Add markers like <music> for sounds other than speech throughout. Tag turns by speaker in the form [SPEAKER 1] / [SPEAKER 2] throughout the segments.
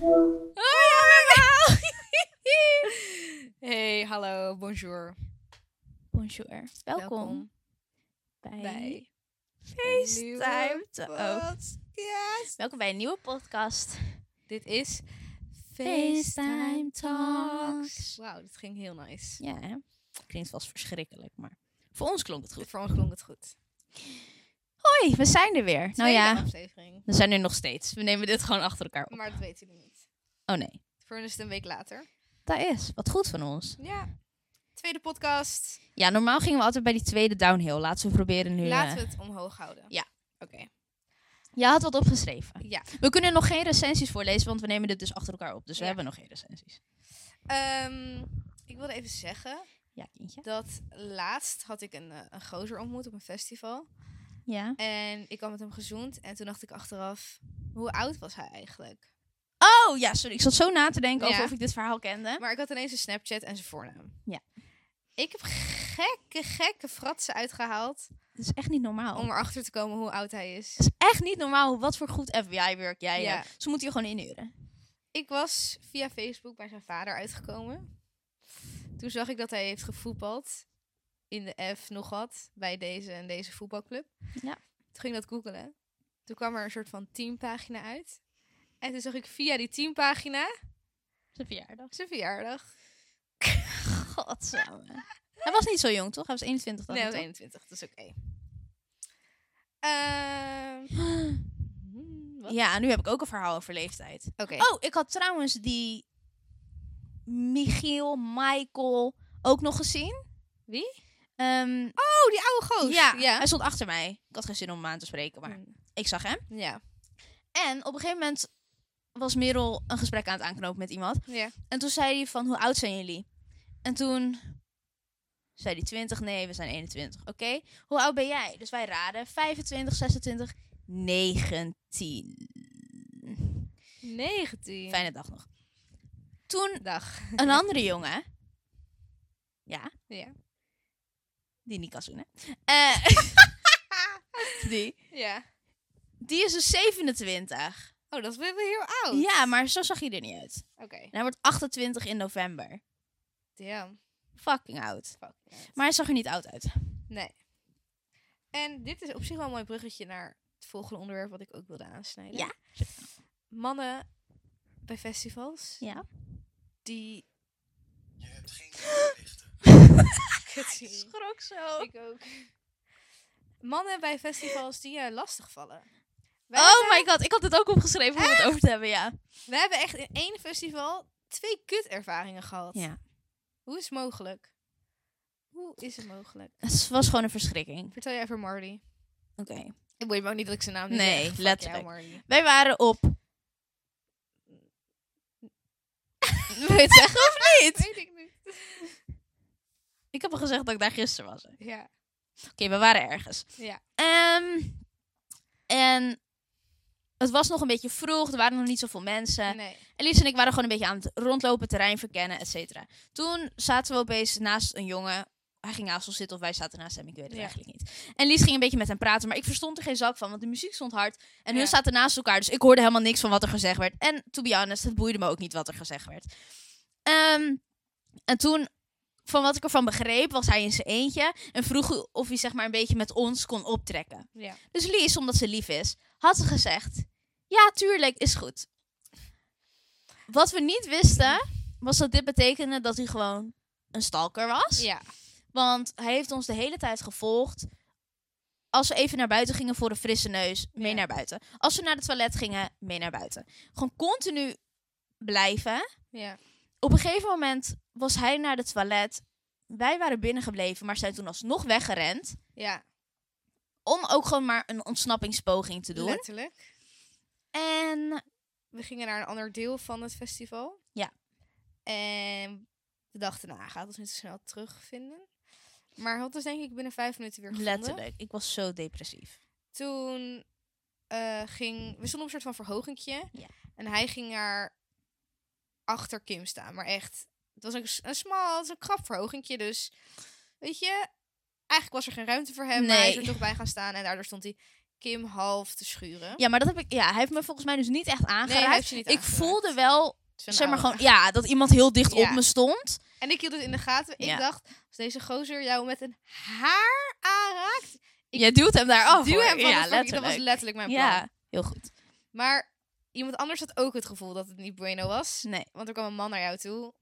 [SPEAKER 1] Hoi allemaal! <laughs> hey, hallo, bonjour.
[SPEAKER 2] Bonjour. Welkom, bij,
[SPEAKER 1] bij
[SPEAKER 2] FaceTime. te- Oh.
[SPEAKER 1] Yes.
[SPEAKER 2] Welkom bij een nieuwe podcast.
[SPEAKER 1] Dit is
[SPEAKER 2] FaceTime Talks.
[SPEAKER 1] Wauw, dit ging heel nice.
[SPEAKER 2] Ja, hè? klinkt vast verschrikkelijk, maar voor ons klonk het goed.
[SPEAKER 1] Voor ons klonk het goed.
[SPEAKER 2] Hoi, we zijn er weer. nou
[SPEAKER 1] Tweede
[SPEAKER 2] ja,
[SPEAKER 1] aflevering.
[SPEAKER 2] we zijn er nog steeds. We nemen dit gewoon achter elkaar op.
[SPEAKER 1] Maar dat weten jullie niet.
[SPEAKER 2] Oh nee,
[SPEAKER 1] Voor hun is het een week later.
[SPEAKER 2] daar is. Wat goed van ons.
[SPEAKER 1] Ja. Tweede podcast.
[SPEAKER 2] Ja, normaal gingen we altijd bij die tweede downhill. Laten we proberen nu. eh,
[SPEAKER 1] Laten we het omhoog houden.
[SPEAKER 2] Ja.
[SPEAKER 1] Oké.
[SPEAKER 2] Je had wat opgeschreven.
[SPEAKER 1] Ja.
[SPEAKER 2] We kunnen nog geen recensies voorlezen, want we nemen dit dus achter elkaar op. Dus we
[SPEAKER 1] Ja.
[SPEAKER 2] hebben nog geen recensies.
[SPEAKER 1] Ehm, ik wilde even zeggen
[SPEAKER 2] Ja, kindje.
[SPEAKER 1] dat laatst had ik een, eh, een gozer ontmoet op een festival.
[SPEAKER 2] Ja.
[SPEAKER 1] En ik had met hem gezoend. En toen dacht ik achteraf, hoe oud was hij eigenlijk?
[SPEAKER 2] Oh ja, sorry. Ik zat zo na te denken over
[SPEAKER 1] Ja.
[SPEAKER 2] of ik dit verhaal kende.
[SPEAKER 1] Maar ik had ineens een Snapchat en zijn voornaam.
[SPEAKER 2] Ja.
[SPEAKER 1] Ik heb gekke, gekke fratsen uitgehaald
[SPEAKER 2] Het is echt niet normaal.
[SPEAKER 1] om erachter te komen hoe oud hij is.
[SPEAKER 2] Het is echt niet normaal wat voor goed FBI-werk jij
[SPEAKER 1] Ja.
[SPEAKER 2] hebt. Ze moeten je gewoon inhuren.
[SPEAKER 1] Ik was via Facebook bij zijn vader uitgekomen. Toen zag ik dat hij heeft gevoetbald in de F nog wat bij deze en deze voetbalclub.
[SPEAKER 2] Ja.
[SPEAKER 1] Toen ging ik dat googelen. Toen kwam er een soort van teampagina uit. En toen zag ik via die teampagina
[SPEAKER 2] Zijn verjaardag.
[SPEAKER 1] zijn verjaardag.
[SPEAKER 2] Godsamme. Hij was niet zo jong, toch? Hij was 21 dan,
[SPEAKER 1] nee, hij was
[SPEAKER 2] toch?
[SPEAKER 1] 21, dat is oké. Ehm, hmm, wat?
[SPEAKER 2] Ja, nu heb ik ook een verhaal over leeftijd.
[SPEAKER 1] Oké.
[SPEAKER 2] Oh, ik had trouwens die Michiel, Michael ook nog gezien.
[SPEAKER 1] Wie?
[SPEAKER 2] Ehm,
[SPEAKER 1] Oh, die oude goos.
[SPEAKER 2] ja,
[SPEAKER 1] Ja. Hm. Hmm.
[SPEAKER 2] hij stond achter mij. Ik had geen zin om hem aan te spreken, maar ik zag hem.
[SPEAKER 1] ja.
[SPEAKER 2] En op een gegeven moment was Merel een gesprek aan het aanknopen met iemand.
[SPEAKER 1] ja.
[SPEAKER 2] En toen zei hij van, hoe oud zijn jullie? En toen zei hij 20, nee, we zijn 21. Oké, hoe oud ben jij? Dus wij raden 25, 26, 19.
[SPEAKER 1] 19.
[SPEAKER 2] Fijne dag nog. Toen
[SPEAKER 1] Dag.
[SPEAKER 2] een andere jongen. Ja,
[SPEAKER 1] Ja.
[SPEAKER 2] die niet kan zoenen. Eh,
[SPEAKER 1] Ah.
[SPEAKER 2] die.
[SPEAKER 1] Ja.
[SPEAKER 2] Die is dus 27.
[SPEAKER 1] Oh, dat is wel weer heel oud.
[SPEAKER 2] Ja, maar zo zag hij er niet uit.
[SPEAKER 1] Oké.
[SPEAKER 2] En hij wordt 28 in november.
[SPEAKER 1] Damn.
[SPEAKER 2] Fucking oud.
[SPEAKER 1] Fuck. yeah.
[SPEAKER 2] Maar hij zag er niet oud uit.
[SPEAKER 1] Nee. En dit is op zich wel een mooi bruggetje naar het volgende onderwerp wat ik ook wilde aansnijden.
[SPEAKER 2] Ja.
[SPEAKER 1] Mannen bij festivals
[SPEAKER 2] Ja.
[SPEAKER 1] die...
[SPEAKER 3] Je hebt geen verplichten.
[SPEAKER 1] Kut, sorry.
[SPEAKER 2] Schrok zo.
[SPEAKER 1] <laughs> Ik ook. Mannen bij festivals die je lastig vallen. Wij,
[SPEAKER 2] Oh
[SPEAKER 1] hebben,
[SPEAKER 2] my god, ik had het ook opgeschreven om het over te hebben, ja.
[SPEAKER 1] wij hebben echt in één festival twee kutervaringen gehad. Hoe is het mogelijk? Hoe is het mogelijk?
[SPEAKER 2] Het was gewoon een verschrikking.
[SPEAKER 1] Vertel jij over Marley.
[SPEAKER 2] Oké.
[SPEAKER 1] Ik weet maar ook niet dat ik zijn naam niet
[SPEAKER 2] Nee,
[SPEAKER 1] zeg. Fuck
[SPEAKER 2] letterlijk.
[SPEAKER 1] jou, Marley.
[SPEAKER 2] Wij waren op... Wil je het zeggen of niet?
[SPEAKER 1] Weet ik niet.
[SPEAKER 2] Ik heb al gezegd dat ik daar gisteren was. hè. Oké,
[SPEAKER 1] Ja.
[SPEAKER 2] we waren ergens.
[SPEAKER 1] Ja.
[SPEAKER 2] Ehm, en het was nog een beetje vroeg, er waren nog niet zoveel mensen.
[SPEAKER 1] Nee.
[SPEAKER 2] Elise en ik waren gewoon een beetje aan het rondlopen, terrein verkennen, et cetera. Toen zaten we opeens naast een jongen. Hij ging naast ons zitten of wij zaten naast hem, ik weet het
[SPEAKER 1] Ja.
[SPEAKER 2] eigenlijk niet. En Lies ging een beetje met hem praten, maar ik verstond er geen zak van, want de muziek stond hard. En
[SPEAKER 1] Ja.
[SPEAKER 2] hun zaten naast elkaar, dus ik hoorde helemaal niks van wat er gezegd werd. En to be honest, het boeide me ook niet wat er gezegd werd. Ehm, en toen, van wat ik ervan begreep, was hij in zijn eentje. En vroeg of hij zeg maar een beetje met ons kon optrekken.
[SPEAKER 1] Ja.
[SPEAKER 2] Dus Lies, omdat ze lief is, had ze gezegd: Ja, tuurlijk, is goed. Wat we niet wisten, was dat dit betekende dat hij gewoon een stalker was.
[SPEAKER 1] Ja.
[SPEAKER 2] Want hij heeft ons de hele tijd gevolgd. Als we even naar buiten gingen voor een frisse neus, mee
[SPEAKER 1] Ja.
[SPEAKER 2] naar buiten. Als we naar het toilet gingen, mee naar buiten. Gewoon continu blijven.
[SPEAKER 1] Ja.
[SPEAKER 2] Op een gegeven moment was hij naar het toilet. Wij waren binnengebleven, maar zijn toen alsnog weggerend.
[SPEAKER 1] Ja.
[SPEAKER 2] Om ook gewoon maar een ontsnappingspoging te doen.
[SPEAKER 1] Letterlijk.
[SPEAKER 2] En
[SPEAKER 1] We gingen naar een ander deel van het festival.
[SPEAKER 2] Ja.
[SPEAKER 1] En we dachten, nou, hij gaat ons niet zo snel terugvinden. Maar hij had ons denk ik binnen vijf minuten weer gevonden.
[SPEAKER 2] Letterlijk. Ik was zo depressief.
[SPEAKER 1] Toen eh, ging... We stonden op een soort van verhogingje.
[SPEAKER 2] Ja.
[SPEAKER 1] En hij ging daar achter Kim staan. Maar echt, het was een, s- een smal, zo'n krap verhogingje. Dus, weet je... Eigenlijk was er geen ruimte voor hem. Maar hij is
[SPEAKER 2] Nee.
[SPEAKER 1] er toch bij gaan staan. En daardoor stond hij Kim half te schuren.
[SPEAKER 2] Ja, maar dat heb ik. Ja, hij heeft me volgens mij dus niet echt aangeraakt.
[SPEAKER 1] hij heeft je niet
[SPEAKER 2] ik
[SPEAKER 1] aangeraakt.
[SPEAKER 2] voelde wel,
[SPEAKER 1] Zo'n
[SPEAKER 2] zeg maar
[SPEAKER 1] aura.
[SPEAKER 2] gewoon, ja, dat iemand heel dicht
[SPEAKER 1] Ja.
[SPEAKER 2] op me stond.
[SPEAKER 1] En ik hield het in de gaten. Ik
[SPEAKER 2] Ja.
[SPEAKER 1] dacht, als deze gozer jou met een haar aanraakt, Ik
[SPEAKER 2] Jij duwt hem daar af.
[SPEAKER 1] duw
[SPEAKER 2] hoor.
[SPEAKER 1] hem van
[SPEAKER 2] Oh, ja,
[SPEAKER 1] de fucking- Dat was letterlijk mijn plan.
[SPEAKER 2] Ja, heel goed.
[SPEAKER 1] Maar iemand anders had ook het gevoel dat het niet bueno was.
[SPEAKER 2] Nee.
[SPEAKER 1] Want er kwam een man naar jou toe.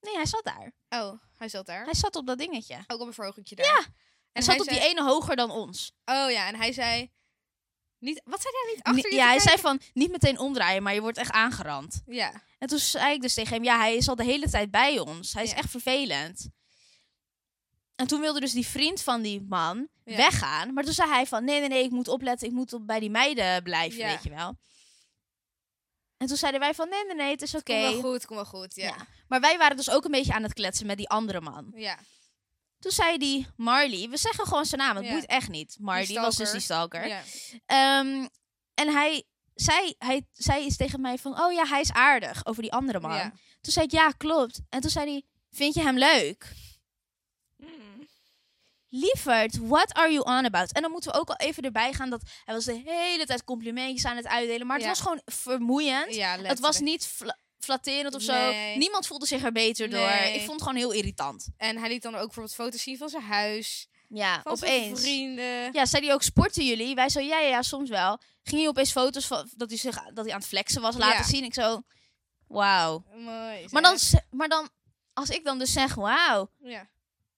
[SPEAKER 2] Nee, hij zat daar.
[SPEAKER 1] Oh, hij zat daar.
[SPEAKER 2] Hij zat op dat dingetje. Hij
[SPEAKER 1] Ook op een verhogingje daar. Ja. En
[SPEAKER 2] zat
[SPEAKER 1] hij
[SPEAKER 2] op
[SPEAKER 1] zei,
[SPEAKER 2] die e- ene hoger dan ons.
[SPEAKER 1] Oh ja, en hij zei... Niet, wat zei hij niet? Achter je
[SPEAKER 2] ja,
[SPEAKER 1] te
[SPEAKER 2] hij zei
[SPEAKER 1] kijken?
[SPEAKER 2] van niet meteen omdraaien, maar je wordt echt aangerand.
[SPEAKER 1] Ja.
[SPEAKER 2] En toen zei ik dus tegen hem, ja, hij is al de hele tijd bij ons. Hij is
[SPEAKER 1] Ja.
[SPEAKER 2] echt vervelend. En toen wilde dus die vriend van die man
[SPEAKER 1] Ja.
[SPEAKER 2] weggaan. Maar toen zei hij van, nee, nee, nee, ik moet opletten. Ik moet op, bij die meiden blijven,
[SPEAKER 1] Ja.
[SPEAKER 2] weet je wel. En toen zeiden wij van, nee, nee, nee, het is oké.
[SPEAKER 1] Kom wel goed, kom wel goed. Ja.
[SPEAKER 2] Ja. Maar wij waren dus ook een beetje aan het kletsen met die andere man.
[SPEAKER 1] Ja.
[SPEAKER 2] Toen zei die Marley, we zeggen gewoon zijn naam, het
[SPEAKER 1] Ja.
[SPEAKER 2] moet echt niet. Marley was dus
[SPEAKER 1] stalker.
[SPEAKER 2] die stalker.
[SPEAKER 1] ja.
[SPEAKER 2] Ehm, en hij zei, hij zei iets tegen mij van, oh ja, hij is aardig over die andere man.
[SPEAKER 1] Ja.
[SPEAKER 2] Toen zei ik, ja, klopt. En toen zei hij, vind je hem leuk? Lieverd, what are you on about? En dan moeten we ook al even erbij gaan dat hij was de hele tijd complimentjes aan het uitdelen. Maar
[SPEAKER 1] Ja.
[SPEAKER 2] het was gewoon vermoeiend.
[SPEAKER 1] Ja,
[SPEAKER 2] het was
[SPEAKER 1] letterlijk.
[SPEAKER 2] niet fla- flatterend of
[SPEAKER 1] Nee.
[SPEAKER 2] zo. Niemand voelde zich er beter
[SPEAKER 1] Nee.
[SPEAKER 2] door. Ik vond het gewoon heel irritant.
[SPEAKER 1] En hij liet dan ook bijvoorbeeld foto's zien van zijn huis.
[SPEAKER 2] Ja,
[SPEAKER 1] Van zijn
[SPEAKER 2] opeens.
[SPEAKER 1] vrienden.
[SPEAKER 2] Ja, zei hij ook, sporten jullie? Wij zo, ja, ja, ja, soms wel. Ging hij opeens foto's van dat hij, zich, dat hij aan het flexen was laten
[SPEAKER 1] Ja.
[SPEAKER 2] zien. Ik zo, wauw.
[SPEAKER 1] Mooi.
[SPEAKER 2] Maar dan, ze- maar dan, als ik dan dus zeg wauw,
[SPEAKER 1] Ja.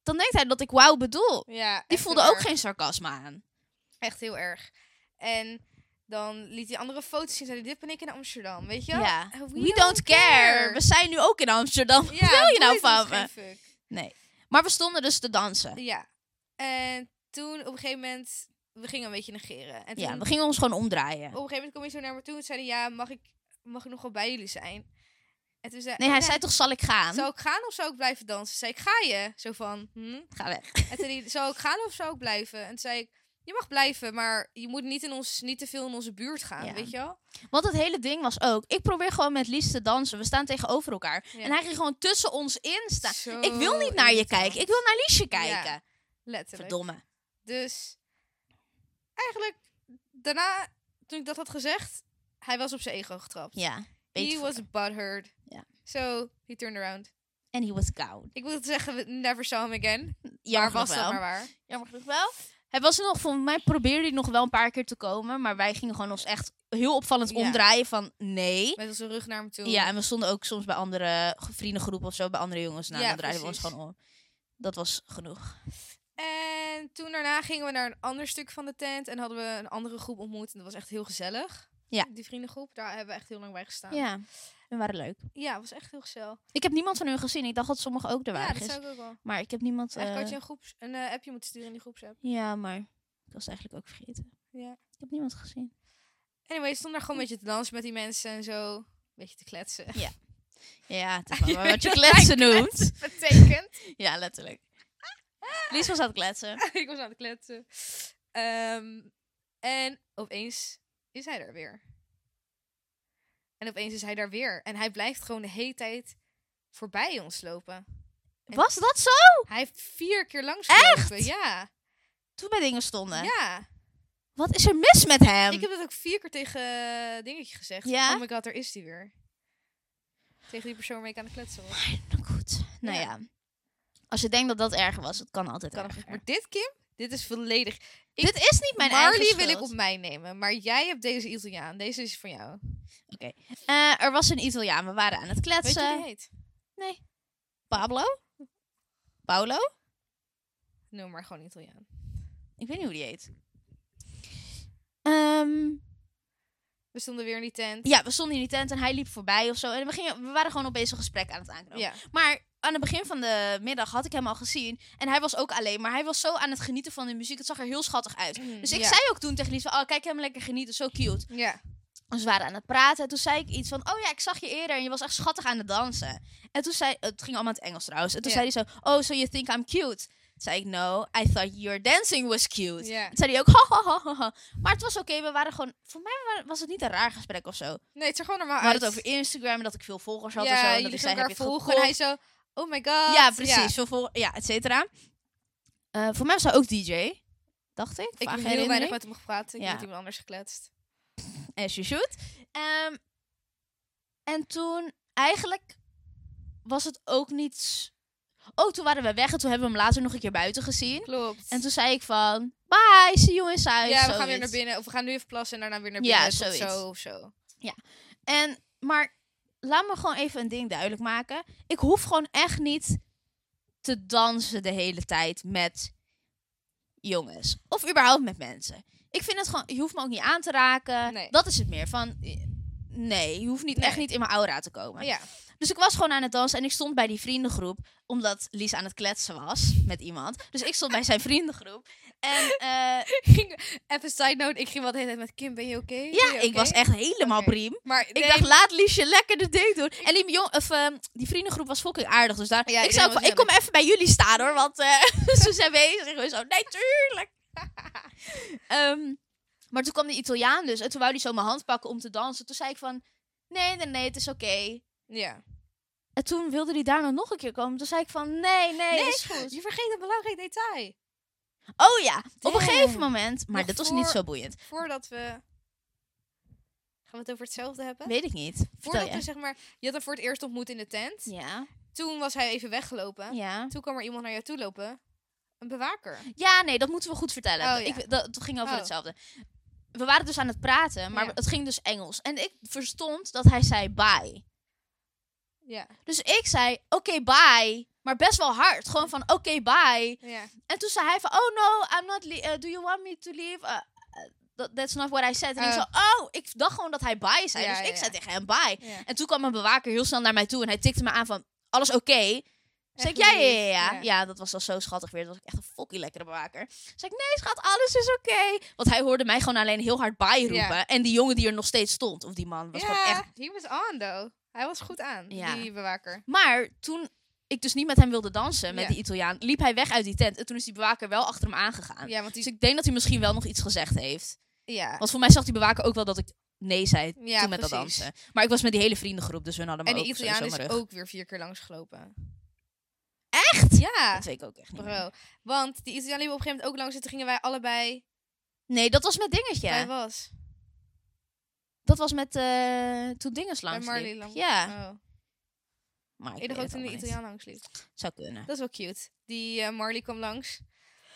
[SPEAKER 2] dan denkt hij dat ik wauw bedoel.
[SPEAKER 1] ja
[SPEAKER 2] Die
[SPEAKER 1] echt
[SPEAKER 2] voelde
[SPEAKER 1] heel
[SPEAKER 2] ook
[SPEAKER 1] erg.
[SPEAKER 2] geen sarcasme aan.
[SPEAKER 1] Echt heel erg. En dan liet hij andere foto's zien. Zei hij, dit ben ik in Amsterdam. Weet je
[SPEAKER 2] Ja.
[SPEAKER 1] wel?
[SPEAKER 2] We,
[SPEAKER 1] Eh,
[SPEAKER 2] don't, care. We zijn nu ook in Amsterdam.
[SPEAKER 1] Ja,
[SPEAKER 2] Wat <laughs> wil je
[SPEAKER 1] boeit
[SPEAKER 2] nou
[SPEAKER 1] ons
[SPEAKER 2] van me?
[SPEAKER 1] geen fuck.
[SPEAKER 2] Maar we stonden dus te dansen.
[SPEAKER 1] Ja. En toen op een gegeven moment... We gingen een beetje negeren. En toen,
[SPEAKER 2] Ja, we gingen ons gewoon omdraaien.
[SPEAKER 1] Op een gegeven moment kwam hij zo naar me toe. En zei hij, ja, mag ik, mag ik nog wel bij jullie zijn? En toen zei
[SPEAKER 2] Nee, hij zei toch zal ik gaan?
[SPEAKER 1] Zou ik gaan of zou ik blijven dansen? Zei ik, ga je? Zo van, hm?
[SPEAKER 2] Ga weg.
[SPEAKER 1] En toen die, zou ik gaan of zou ik blijven? En toen zei ik, je mag blijven, maar je moet niet, in ons, niet te veel in onze buurt gaan,
[SPEAKER 2] Ja.
[SPEAKER 1] weet je wel?
[SPEAKER 2] Want het hele ding was ook, ik probeer gewoon met Lies te dansen. We staan tegenover elkaar.
[SPEAKER 1] Ja.
[SPEAKER 2] En hij ging gewoon tussen ons in staan.
[SPEAKER 1] Zo
[SPEAKER 2] Ik wil niet naar je
[SPEAKER 1] irritant.
[SPEAKER 2] kijken. Ik wil naar Liesje kijken.
[SPEAKER 1] Letterlijk.
[SPEAKER 2] Verdomme.
[SPEAKER 1] Dus eigenlijk, daarna, toen ik dat had gezegd, hij was op zijn ego getrapt.
[SPEAKER 2] Ja.
[SPEAKER 1] He
[SPEAKER 2] Beter voor-
[SPEAKER 1] was butthurt.
[SPEAKER 2] Ja.
[SPEAKER 1] So, he turned around.
[SPEAKER 2] En he was koud.
[SPEAKER 1] Ik wil zeggen, we never saw him again.
[SPEAKER 2] Jammer
[SPEAKER 1] maar was
[SPEAKER 2] genoeg
[SPEAKER 1] dat
[SPEAKER 2] wel.
[SPEAKER 1] maar waar.
[SPEAKER 2] Jammer genoeg wel. Hij was er nog, volgens mij probeerde hij nog wel een paar keer te komen. Maar wij gingen gewoon ons echt heel opvallend
[SPEAKER 1] Ja.
[SPEAKER 2] omdraaien van nee.
[SPEAKER 1] Met onze rug naar hem toe.
[SPEAKER 2] Ja, en we stonden ook soms bij andere ge- vriendengroepen of zo, bij andere jongens. Nou,
[SPEAKER 1] Ja,
[SPEAKER 2] dan draaiden we
[SPEAKER 1] precies.
[SPEAKER 2] ons gewoon om. Dat was genoeg.
[SPEAKER 1] En toen daarna gingen we naar een ander stuk van de tent en hadden we een andere groep ontmoet. En dat was echt heel gezellig.
[SPEAKER 2] Ja.
[SPEAKER 1] Die vriendengroep, daar hebben we echt heel lang bij gestaan.
[SPEAKER 2] Ja, we waren leuk.
[SPEAKER 1] Ja, was echt heel gezellig.
[SPEAKER 2] Ik heb niemand van hun gezien. Ik dacht dat sommigen ook
[SPEAKER 1] Ja,
[SPEAKER 2] er waren
[SPEAKER 1] dat
[SPEAKER 2] gisteren.
[SPEAKER 1] zou ik ook wel.
[SPEAKER 2] Maar ik heb niemand...
[SPEAKER 1] Eigenlijk had
[SPEAKER 2] eh,
[SPEAKER 1] je een, groeps, een eh, appje moeten sturen in die groepsapp.
[SPEAKER 2] Ja, maar ik was het eigenlijk ook vergeten.
[SPEAKER 1] Ja.
[SPEAKER 2] Ik heb niemand gezien.
[SPEAKER 1] Anyway, je stond daar gewoon een beetje te dansen met die mensen en zo. Een beetje te
[SPEAKER 2] <laughs>
[SPEAKER 1] kletsen.
[SPEAKER 2] Ja, <laughs> het is
[SPEAKER 1] Je
[SPEAKER 2] wel maar wat
[SPEAKER 1] weet
[SPEAKER 2] je
[SPEAKER 1] wat
[SPEAKER 2] kletsen
[SPEAKER 1] wij
[SPEAKER 2] noemt.
[SPEAKER 1] Betekent.
[SPEAKER 2] Ja, letterlijk.
[SPEAKER 1] <laughs>
[SPEAKER 2] Lies was aan het kletsen.
[SPEAKER 1] ik was aan het kletsen. Ehm, en opeens is hij er weer. En opeens is hij daar weer. En hij blijft gewoon de hele tijd voorbij ons lopen.
[SPEAKER 2] Was dat zo?
[SPEAKER 1] Hij heeft vier keer langs
[SPEAKER 2] Echt?
[SPEAKER 1] Ja.
[SPEAKER 2] Toen bij dingen stonden.
[SPEAKER 1] Ja.
[SPEAKER 2] Wat is er mis met hem?
[SPEAKER 1] ik heb dat ook vier keer tegen eh, dingetje gezegd.
[SPEAKER 2] Ja?
[SPEAKER 1] Oh my god, daar is hij weer. Tegen die persoon waarmee ik aan het kletsen was.
[SPEAKER 2] Nou goed. Nou
[SPEAKER 1] Ja.
[SPEAKER 2] ja. Als je denkt dat dat erger was, het kan altijd
[SPEAKER 1] Kan
[SPEAKER 2] erger.
[SPEAKER 1] nog- maar dit, Kim, dit is volledig.
[SPEAKER 2] Dit is niet mijn eigen
[SPEAKER 1] Marley
[SPEAKER 2] schuld.
[SPEAKER 1] wil ik op mij nemen, maar jij hebt deze Italiaan. Deze is van jou.
[SPEAKER 2] Eh, er was een Italiaan, we waren aan het
[SPEAKER 1] Weet je
[SPEAKER 2] kletsen.
[SPEAKER 1] hoe die heet?
[SPEAKER 2] Pablo? Paolo?
[SPEAKER 1] Noem maar gewoon Italiaan.
[SPEAKER 2] Ik weet niet hoe die heet. Ehm,
[SPEAKER 1] We stonden weer in die tent.
[SPEAKER 2] ja, we stonden in die tent en hij liep voorbij of zo. En we, gingen, we waren gewoon opeens een gesprek aan het aanknopen.
[SPEAKER 1] Ja.
[SPEAKER 2] Maar aan het begin van de middag had ik hem al gezien. En hij was ook alleen. Maar hij was zo aan het genieten van de muziek. Het zag er heel schattig uit. Dus ik
[SPEAKER 1] ja.
[SPEAKER 2] zei ook toen tegen Lies van, oh, kijk hem lekker genieten, zo cute.
[SPEAKER 1] Mhm. Ja.
[SPEAKER 2] Dus we waren aan het praten en toen zei ik iets van, oh ja, ik zag je eerder en je was echt schattig aan het dansen. En toen zei, het ging allemaal in het Engels trouwens. En toen
[SPEAKER 1] Ja.
[SPEAKER 2] zei hij zo, oh, so you think I'm cute? Toen zei ik, no, I thought your dancing was cute.
[SPEAKER 1] Ja.
[SPEAKER 2] Toen zei hij ook, ha, ha, ha, ha, ha. Maar het was oké, we waren gewoon, voor mij wa- was het niet een raar gesprek of zo.
[SPEAKER 1] Nee, het is er gewoon normaal
[SPEAKER 2] We hadden
[SPEAKER 1] uit.
[SPEAKER 2] het over Instagram en dat ik veel volgers had en zo.
[SPEAKER 1] ja,
[SPEAKER 2] En dat
[SPEAKER 1] jullie
[SPEAKER 2] ik
[SPEAKER 1] gaan
[SPEAKER 2] zei, heb
[SPEAKER 1] elkaar
[SPEAKER 2] je het
[SPEAKER 1] volgen. En hij
[SPEAKER 2] gekocht?
[SPEAKER 1] zo, oh my god.
[SPEAKER 2] Ja, precies. Veel volgers, ja, et cetera. Eh, voor mij was hij ook DJ. dacht ik.
[SPEAKER 1] Ik heb heel
[SPEAKER 2] Vage
[SPEAKER 1] weinig
[SPEAKER 2] herinnering.
[SPEAKER 1] met hem gepraat. Ik
[SPEAKER 2] Ja.
[SPEAKER 1] heb met iemand anders gekletst.
[SPEAKER 2] as you should. Ehm, en toen, eigenlijk was het ook niets... Oh, toen waren we weg en toen hebben we hem later nog een keer buiten gezien.
[SPEAKER 1] Klopt.
[SPEAKER 2] En toen zei ik van, bye, see you
[SPEAKER 1] ja,
[SPEAKER 2] inside.
[SPEAKER 1] we gaan weer
[SPEAKER 2] zoiets.
[SPEAKER 1] naar binnen. Of we gaan nu even plassen en daarna weer naar
[SPEAKER 2] Ja,
[SPEAKER 1] binnen. tot
[SPEAKER 2] zoiets.
[SPEAKER 1] zo of zo.
[SPEAKER 2] En, maar laat me gewoon even een ding duidelijk maken. Ik hoef gewoon echt niet te dansen de hele tijd met jongens. Of überhaupt met mensen. Ik vind het gewoon, je hoeft me ook niet aan te raken.
[SPEAKER 1] Nee.
[SPEAKER 2] Dat is het meer van, eh, nee, je hoeft niet, echt
[SPEAKER 1] Nee.
[SPEAKER 2] niet in mijn aura te komen. <laughs>
[SPEAKER 1] Ja.
[SPEAKER 2] Dus ik was gewoon aan het dansen en ik stond bij die vriendengroep. Omdat Lies aan het kletsen was met iemand. Dus ik stond bij zijn vriendengroep.
[SPEAKER 1] <laughs>
[SPEAKER 2] En eh,
[SPEAKER 1] even side note. Ik ging wel de hele tijd met Kim. Ben je oké? Ben
[SPEAKER 2] ja,
[SPEAKER 1] je
[SPEAKER 2] ik
[SPEAKER 1] oké?
[SPEAKER 2] was echt helemaal
[SPEAKER 1] Oké.
[SPEAKER 2] priem.
[SPEAKER 1] Maar
[SPEAKER 2] Ik dacht, laat Liesje lekker de ding doen. En die, jong, of, ehm, die vriendengroep was fucking aardig. Dus daar,
[SPEAKER 1] Ja,
[SPEAKER 2] ik
[SPEAKER 1] iedereen
[SPEAKER 2] zou ook
[SPEAKER 1] was
[SPEAKER 2] van, ik kom even bij jullie staan hoor. Want eh, <laughs> ze zijn bezig. En zo, nee, tuurlijk. <laughs> Ehm, maar toen kwam die Italiaan dus. En toen wou hij zo mijn hand pakken om te dansen. Toen zei ik van, nee, nee, nee, het is oké.
[SPEAKER 1] Ja.
[SPEAKER 2] En toen wilde hij daarna nog een keer komen. Toen zei ik van, nee, nee,
[SPEAKER 1] Nee,
[SPEAKER 2] is goed.
[SPEAKER 1] Je vergeet een belangrijk detail.
[SPEAKER 2] Oh ja, op een
[SPEAKER 1] Damn.
[SPEAKER 2] gegeven moment. Maar
[SPEAKER 1] Nog
[SPEAKER 2] dat was
[SPEAKER 1] voor-
[SPEAKER 2] niet zo boeiend.
[SPEAKER 1] Voordat we... Gaan we het over hetzelfde hebben?
[SPEAKER 2] Weet ik niet. Vertel
[SPEAKER 1] Voordat dus-
[SPEAKER 2] je.
[SPEAKER 1] we zeg maar... Je had hem voor het eerst ontmoet in de tent.
[SPEAKER 2] Ja,
[SPEAKER 1] Toen was hij even weggelopen.
[SPEAKER 2] ja.
[SPEAKER 1] Toen kwam er iemand naar jou toe lopen. Een bewaker.
[SPEAKER 2] Ja, nee, dat moeten we goed vertellen.
[SPEAKER 1] Oh, ja.
[SPEAKER 2] ik, dat, dat ging over
[SPEAKER 1] Oh.
[SPEAKER 2] hetzelfde. We waren dus aan het praten, maar
[SPEAKER 1] Ja.
[SPEAKER 2] het ging dus Engels. En ik verstond dat hij zei bye.
[SPEAKER 1] Ja.
[SPEAKER 2] Dus ik zei, oké, bye. Maar best wel hard. Gewoon van, oké, bye.
[SPEAKER 1] Ja.
[SPEAKER 2] En toen zei hij van, oh no, I'm not, le- eh, do you want me to leave? Eh, eh, that- that's not what I said. En ik
[SPEAKER 1] Oh.
[SPEAKER 2] zo, oh, ik dacht gewoon dat hij bye zei.
[SPEAKER 1] Ja,
[SPEAKER 2] dus
[SPEAKER 1] ja,
[SPEAKER 2] ik
[SPEAKER 1] ja.
[SPEAKER 2] zei tegen hem bye.
[SPEAKER 1] ja.
[SPEAKER 2] En toen kwam mijn bewaker heel snel naar mij toe en hij tikte me aan van, alles oké? Zeg ik,
[SPEAKER 1] Echt
[SPEAKER 2] ja, ja, ja,
[SPEAKER 1] lief,
[SPEAKER 2] ja.
[SPEAKER 1] ja.
[SPEAKER 2] Ja, dat was al zo schattig weer. Dat was echt een fucking lekkere bewaker. Zeg ik, nee schat, alles is oké. Want hij hoorde mij gewoon alleen heel hard bij roepen.
[SPEAKER 1] Ja.
[SPEAKER 2] En die jongen die er nog steeds stond, of die man, was gewoon echt...
[SPEAKER 1] he was on though. Hij was goed aan,
[SPEAKER 2] Ja.
[SPEAKER 1] die bewaker.
[SPEAKER 2] Maar toen ik dus niet met hem wilde dansen, met
[SPEAKER 1] Ja.
[SPEAKER 2] die Italiaan, liep hij weg uit die tent. En toen is die bewaker wel achter hem aangegaan.
[SPEAKER 1] Ja, want
[SPEAKER 2] Dus
[SPEAKER 1] die...
[SPEAKER 2] ik denk dat hij misschien wel nog iets gezegd heeft.
[SPEAKER 1] Ja.
[SPEAKER 2] Want voor mij zag die bewaker ook wel dat ik nee zei toen
[SPEAKER 1] Ja,
[SPEAKER 2] met dat
[SPEAKER 1] precies.
[SPEAKER 2] dansen. Maar ik was met die hele vriendengroep, dus we hadden hem
[SPEAKER 1] En de
[SPEAKER 2] ook sowieso
[SPEAKER 1] Italiaan is
[SPEAKER 2] maar rug.
[SPEAKER 1] ook weer vier keer langsgelopen.
[SPEAKER 2] Echt?
[SPEAKER 1] Ja,
[SPEAKER 2] Dat weet ik ook echt niet meer.
[SPEAKER 1] bro. Want die Italiaan liep op een gegeven moment ook langs en toen gingen wij allebei
[SPEAKER 2] Nee, dat was met dingetje.
[SPEAKER 1] bij was.
[SPEAKER 2] Dat was met eh, toen dinges langs
[SPEAKER 1] bij Marley
[SPEAKER 2] liep.
[SPEAKER 1] langs.
[SPEAKER 2] Ja,
[SPEAKER 1] Oh.
[SPEAKER 2] maar ik
[SPEAKER 1] Ik dacht ook
[SPEAKER 2] weet
[SPEAKER 1] toen
[SPEAKER 2] het
[SPEAKER 1] de
[SPEAKER 2] allemaal niet.
[SPEAKER 1] Italiaan langs liep.
[SPEAKER 2] Zou kunnen.
[SPEAKER 1] Dat is wel cute. Die eh, Marley kwam langs.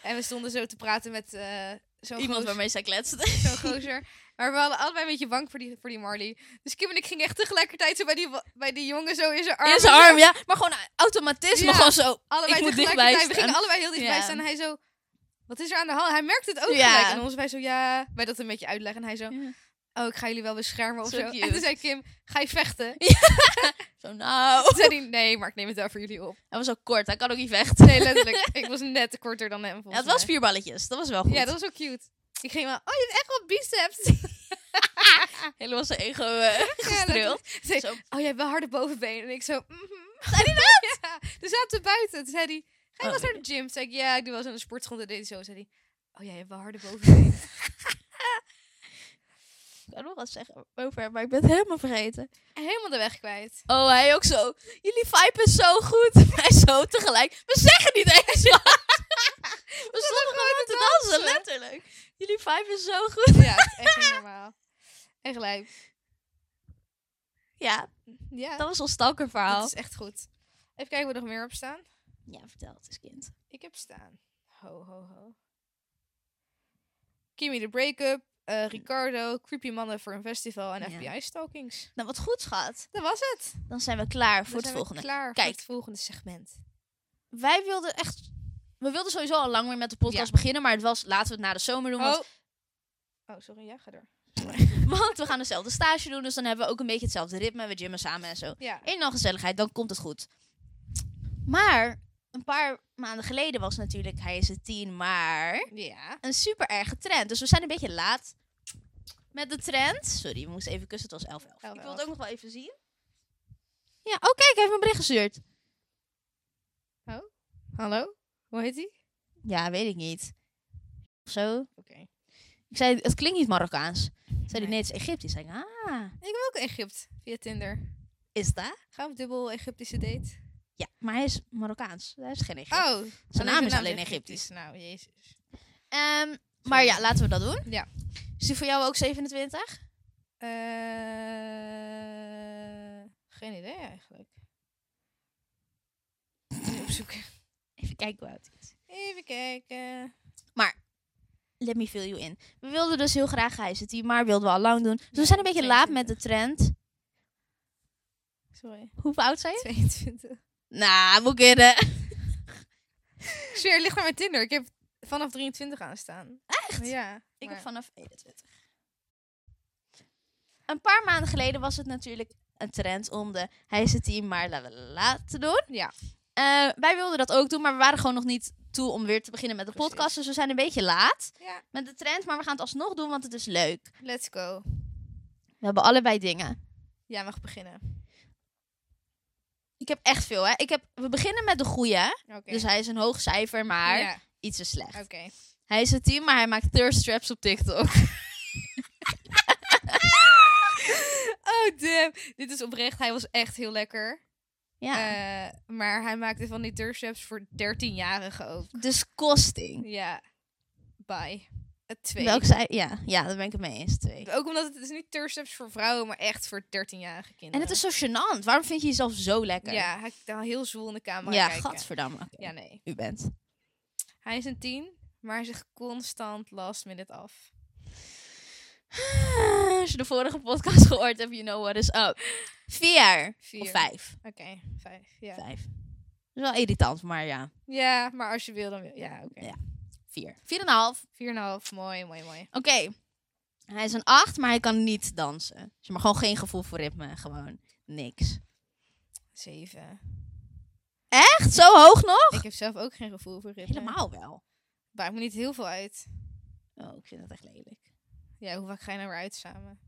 [SPEAKER 1] En we stonden zo te praten met eh, zo'n
[SPEAKER 2] Iemand
[SPEAKER 1] gozer-
[SPEAKER 2] waarmee zij kletste.
[SPEAKER 1] zo'n gozer. Maar we hadden allebei een beetje bang voor die, voor die Marley. Dus Kim en ik gingen echt tegelijkertijd zo bij die, wa- bij die jongen zo in zijn arm.
[SPEAKER 2] In zijn arm, ja. Maar gewoon automatisme,
[SPEAKER 1] Ja.
[SPEAKER 2] gewoon zo.
[SPEAKER 1] allebei
[SPEAKER 2] Ik moet
[SPEAKER 1] tegelijkertijd.
[SPEAKER 2] dichtbij
[SPEAKER 1] We gingen
[SPEAKER 2] staan.
[SPEAKER 1] allebei heel dichtbij
[SPEAKER 2] Ja.
[SPEAKER 1] staan. En hij zo, wat is er aan de hand? Hij merkte het ook
[SPEAKER 2] Ja.
[SPEAKER 1] gelijk. En ons wij zo, ja, wij dat een beetje uitleggen. En hij zo,
[SPEAKER 2] Ja.
[SPEAKER 1] oh, ik ga jullie wel beschermen of
[SPEAKER 2] Zo
[SPEAKER 1] zo.
[SPEAKER 2] cute.
[SPEAKER 1] En toen zei Kim, ga je vechten?
[SPEAKER 2] Zo, nou.
[SPEAKER 1] Toen zei hij, nee, maar ik neem het wel voor jullie op.
[SPEAKER 2] Hij was ook kort, hij kan ook niet vechten.
[SPEAKER 1] Nee,
[SPEAKER 2] <laughs>
[SPEAKER 1] letterlijk. ik was net korter dan hem,
[SPEAKER 2] Ja,
[SPEAKER 1] volgens
[SPEAKER 2] het was
[SPEAKER 1] mij.
[SPEAKER 2] vier balletjes, dat was wel goed.
[SPEAKER 1] Ja, dat was wel cute. Ik ging wel, oh, je hebt echt wel biceps. <laughs>
[SPEAKER 2] Helemaal zijn ego eh gestreeld.
[SPEAKER 1] Zei,
[SPEAKER 2] Zo.
[SPEAKER 1] oh, jij hebt wel harde bovenbenen. En ik zo, mhm. <laughs> ja, toen zaten we buiten. Toen zei hij, ga je wel eens
[SPEAKER 2] Oh,
[SPEAKER 1] naar de gym? Toen zei ik, ja, ik doe wel eens aan de sportschool. Toen deed hij zo, zei hij, oh, jij hebt wel harde bovenbenen. <laughs>
[SPEAKER 2] Ik kan nog wat zeggen over hem, maar ik ben het helemaal vergeten.
[SPEAKER 1] Helemaal de weg kwijt.
[SPEAKER 2] Oh, hij ook zo. Jullie vibe is zo goed. <laughs> Wij zo tegelijk. We zeggen niet eens
[SPEAKER 1] <laughs>
[SPEAKER 2] wat. We stonden gewoon te dansen,
[SPEAKER 1] dansen.
[SPEAKER 2] letterlijk. Jullie vibe is zo goed.
[SPEAKER 1] Ja, <laughs> het is echt niet normaal. En gelijk.
[SPEAKER 2] Ja,
[SPEAKER 1] Ja,
[SPEAKER 2] Dat was ons
[SPEAKER 1] dat
[SPEAKER 2] stalkerverhaal.
[SPEAKER 1] is echt goed. Even kijken wat er nog meer op staan.
[SPEAKER 2] Ja, vertel het eens, kind.
[SPEAKER 1] Ik heb staan. Ho, ho, ho. Kimmy de break-up. eh, Ricardo, creepy mannen voor een festival en
[SPEAKER 2] Ja.
[SPEAKER 1] FBI-stalkings.
[SPEAKER 2] Nou, wat goed, schat.
[SPEAKER 1] Dat was het.
[SPEAKER 2] Dan zijn we klaar
[SPEAKER 1] Dan
[SPEAKER 2] voor het
[SPEAKER 1] zijn we
[SPEAKER 2] volgende.
[SPEAKER 1] klaar
[SPEAKER 2] Kijk.
[SPEAKER 1] voor het volgende segment.
[SPEAKER 2] Wij wilden echt... We wilden sowieso al lang weer met de podcast beginnen, maar het was laten we het na de zomer doen. Want,
[SPEAKER 1] Oh. oh, sorry. Ja, ga door.
[SPEAKER 2] <laughs> want we gaan dezelfde stage doen, dus dan hebben we ook een beetje hetzelfde ritme. We gymmen samen en zo.
[SPEAKER 1] Ja.
[SPEAKER 2] In al gezelligheid, dan komt het goed. Maar een paar maanden geleden was natuurlijk, hij is het tien, maar
[SPEAKER 1] Ja.
[SPEAKER 2] een super erge trend. Dus we zijn een beetje laat met de trend. Sorry, we moesten even kussen, het was 11.11. 11. Ik wil het
[SPEAKER 1] 11.
[SPEAKER 2] ook nog wel even zien. Ja, oh kijk, hij heeft me een bericht gestuurd.
[SPEAKER 1] Hallo? Hoe heet die?
[SPEAKER 2] Ja, weet ik niet. Of zo.
[SPEAKER 1] Oké.
[SPEAKER 2] Ik zei, het klinkt niet Marokkaans. Zei hij,
[SPEAKER 1] Nee.
[SPEAKER 2] nee, het is Egyptisch. Zei ik, ah,
[SPEAKER 1] Ik wil ook Egypte via Tinder.
[SPEAKER 2] is dat?
[SPEAKER 1] Gaan we op dubbel Egyptische date?
[SPEAKER 2] Ja, maar hij is Marokkaans. Hij is geen Egyptisch.
[SPEAKER 1] Oh. alleen
[SPEAKER 2] naam is alleen Egyptisch.
[SPEAKER 1] Nou, jezus.
[SPEAKER 2] Ehm, maar ja, laten we dat doen.
[SPEAKER 1] Ja.
[SPEAKER 2] Is die voor jou ook 27?
[SPEAKER 1] Eh, geen idee eigenlijk. Even opzoeken.
[SPEAKER 2] Even kijken hoe oud hij is.
[SPEAKER 1] Even kijken.
[SPEAKER 2] Let me fill you in. We wilden dus heel graag High City, maar wilden we al lang doen. Dus we
[SPEAKER 1] Ja,
[SPEAKER 2] zijn een beetje laat met de trend.
[SPEAKER 1] Sorry.
[SPEAKER 2] Hoe oud zijn je?
[SPEAKER 1] 22.
[SPEAKER 2] Nou, moet kunnen.
[SPEAKER 1] Ik zweer, het ligt maar met Tinder. Ik heb vanaf 23 aanstaan. Echt? Ja.
[SPEAKER 2] Ik
[SPEAKER 1] maar-
[SPEAKER 2] heb vanaf 21. Een paar maanden geleden was het natuurlijk een trend om de hij zit team maar la la la la te doen.
[SPEAKER 1] Ja.
[SPEAKER 2] Eh, wij wilden dat ook doen, maar we waren gewoon nog niet toe om weer te beginnen met de
[SPEAKER 1] Precies.
[SPEAKER 2] podcast. Dus we zijn een beetje laat
[SPEAKER 1] Ja.
[SPEAKER 2] met de trend, maar we gaan het alsnog doen, want het is leuk.
[SPEAKER 1] Let's go.
[SPEAKER 2] We hebben allebei dingen.
[SPEAKER 1] Jij mag beginnen.
[SPEAKER 2] Ik heb echt veel, hè. Ik heb, we beginnen met de goede,
[SPEAKER 1] Oké.
[SPEAKER 2] dus hij is een hoog cijfer, maar
[SPEAKER 1] Ja,
[SPEAKER 2] iets is slecht.
[SPEAKER 1] oké.
[SPEAKER 2] Hij is het team, maar hij maakt thirst traps op TikTok.
[SPEAKER 1] Oh, damn. Dit is oprecht. Hij was echt heel lekker.
[SPEAKER 2] Ja,
[SPEAKER 1] Eh, maar hij maakte van die durfshaps voor 13-jarigen ook.
[SPEAKER 2] dus kosting.
[SPEAKER 1] Ja. Bye. Het twee.
[SPEAKER 2] Welk zij? Ja, ja, daar ben ik het mee eens. Twee.
[SPEAKER 1] Ook omdat het, het is niet thirst voor vrouwen, maar echt voor 13-jarige kinderen.
[SPEAKER 2] En het is zo gênant. Waarom vind je jezelf zo lekker?
[SPEAKER 1] Ja, hij kan heel zwoel in de camera
[SPEAKER 2] ja
[SPEAKER 1] kijken.
[SPEAKER 2] gadverdamme. Oké,
[SPEAKER 1] Ja, nee.
[SPEAKER 2] U bent.
[SPEAKER 1] Hij is een 10, maar hij zegt constant last minute af.
[SPEAKER 2] Ah, Als je de vorige podcast <laughs> gehoord hebt, you know what is up. Vier.
[SPEAKER 1] Vier.
[SPEAKER 2] Of vijf.
[SPEAKER 1] Oké, vijf. Ja.
[SPEAKER 2] Vijf. Dat is wel irritant, maar ja.
[SPEAKER 1] ja, maar als je wil, dan wil Ja, oké.
[SPEAKER 2] Ja. Vier. Vier en een half.
[SPEAKER 1] 4,5. Mooi, mooi, mooi.
[SPEAKER 2] Oké. Hij is een acht, maar hij kan niet dansen. Dus maar gewoon geen gevoel voor ritme. Gewoon niks.
[SPEAKER 1] 7.
[SPEAKER 2] Echt? Zo hoog nog?
[SPEAKER 1] Ik heb zelf ook geen gevoel voor ritme.
[SPEAKER 2] Helemaal wel.
[SPEAKER 1] Maakt me niet heel veel uit.
[SPEAKER 2] Oh, ik vind dat echt lelijk.
[SPEAKER 1] Ja, hoe vaak ga je nou weer uit samen?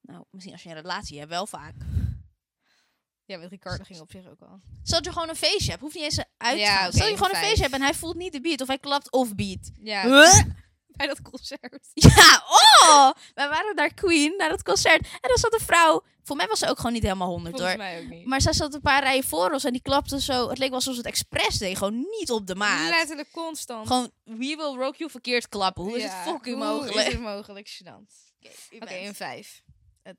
[SPEAKER 2] Nou, misschien als je een relatie hebt, wel vaak.
[SPEAKER 1] Ja, met Ricardo ging op zich ook al.
[SPEAKER 2] Stel dat je gewoon een feestje hebt. Hoef je niet eens uit te
[SPEAKER 1] Ja,
[SPEAKER 2] gaan.
[SPEAKER 1] oké,
[SPEAKER 2] Stel dat je gewoon een
[SPEAKER 1] vijf.
[SPEAKER 2] feestje hebt en hij voelt niet de beat. Of hij klapt off beat.
[SPEAKER 1] Ja,
[SPEAKER 2] Huh?
[SPEAKER 1] bij dat concert.
[SPEAKER 2] <laughs> Ja, oh! Wij waren naar Queen, naar dat concert. En daar zat een vrouw. Voor mij was ze ook gewoon niet helemaal honderd
[SPEAKER 1] Volgens
[SPEAKER 2] hoor.
[SPEAKER 1] mij ook niet.
[SPEAKER 2] Maar zij zat een paar rijen voor ons en die klapte zo. Het leek wel alsof ze het expres deed. Gewoon niet op de maat.
[SPEAKER 1] Letterlijk constant.
[SPEAKER 2] Gewoon, we will rock you verkeerd klappen. Hoe is
[SPEAKER 1] Ja,
[SPEAKER 2] het fucking
[SPEAKER 1] Hoe is
[SPEAKER 2] mogelijk?
[SPEAKER 1] het mogelijk? Gênant.
[SPEAKER 2] u
[SPEAKER 1] Oké, een 5.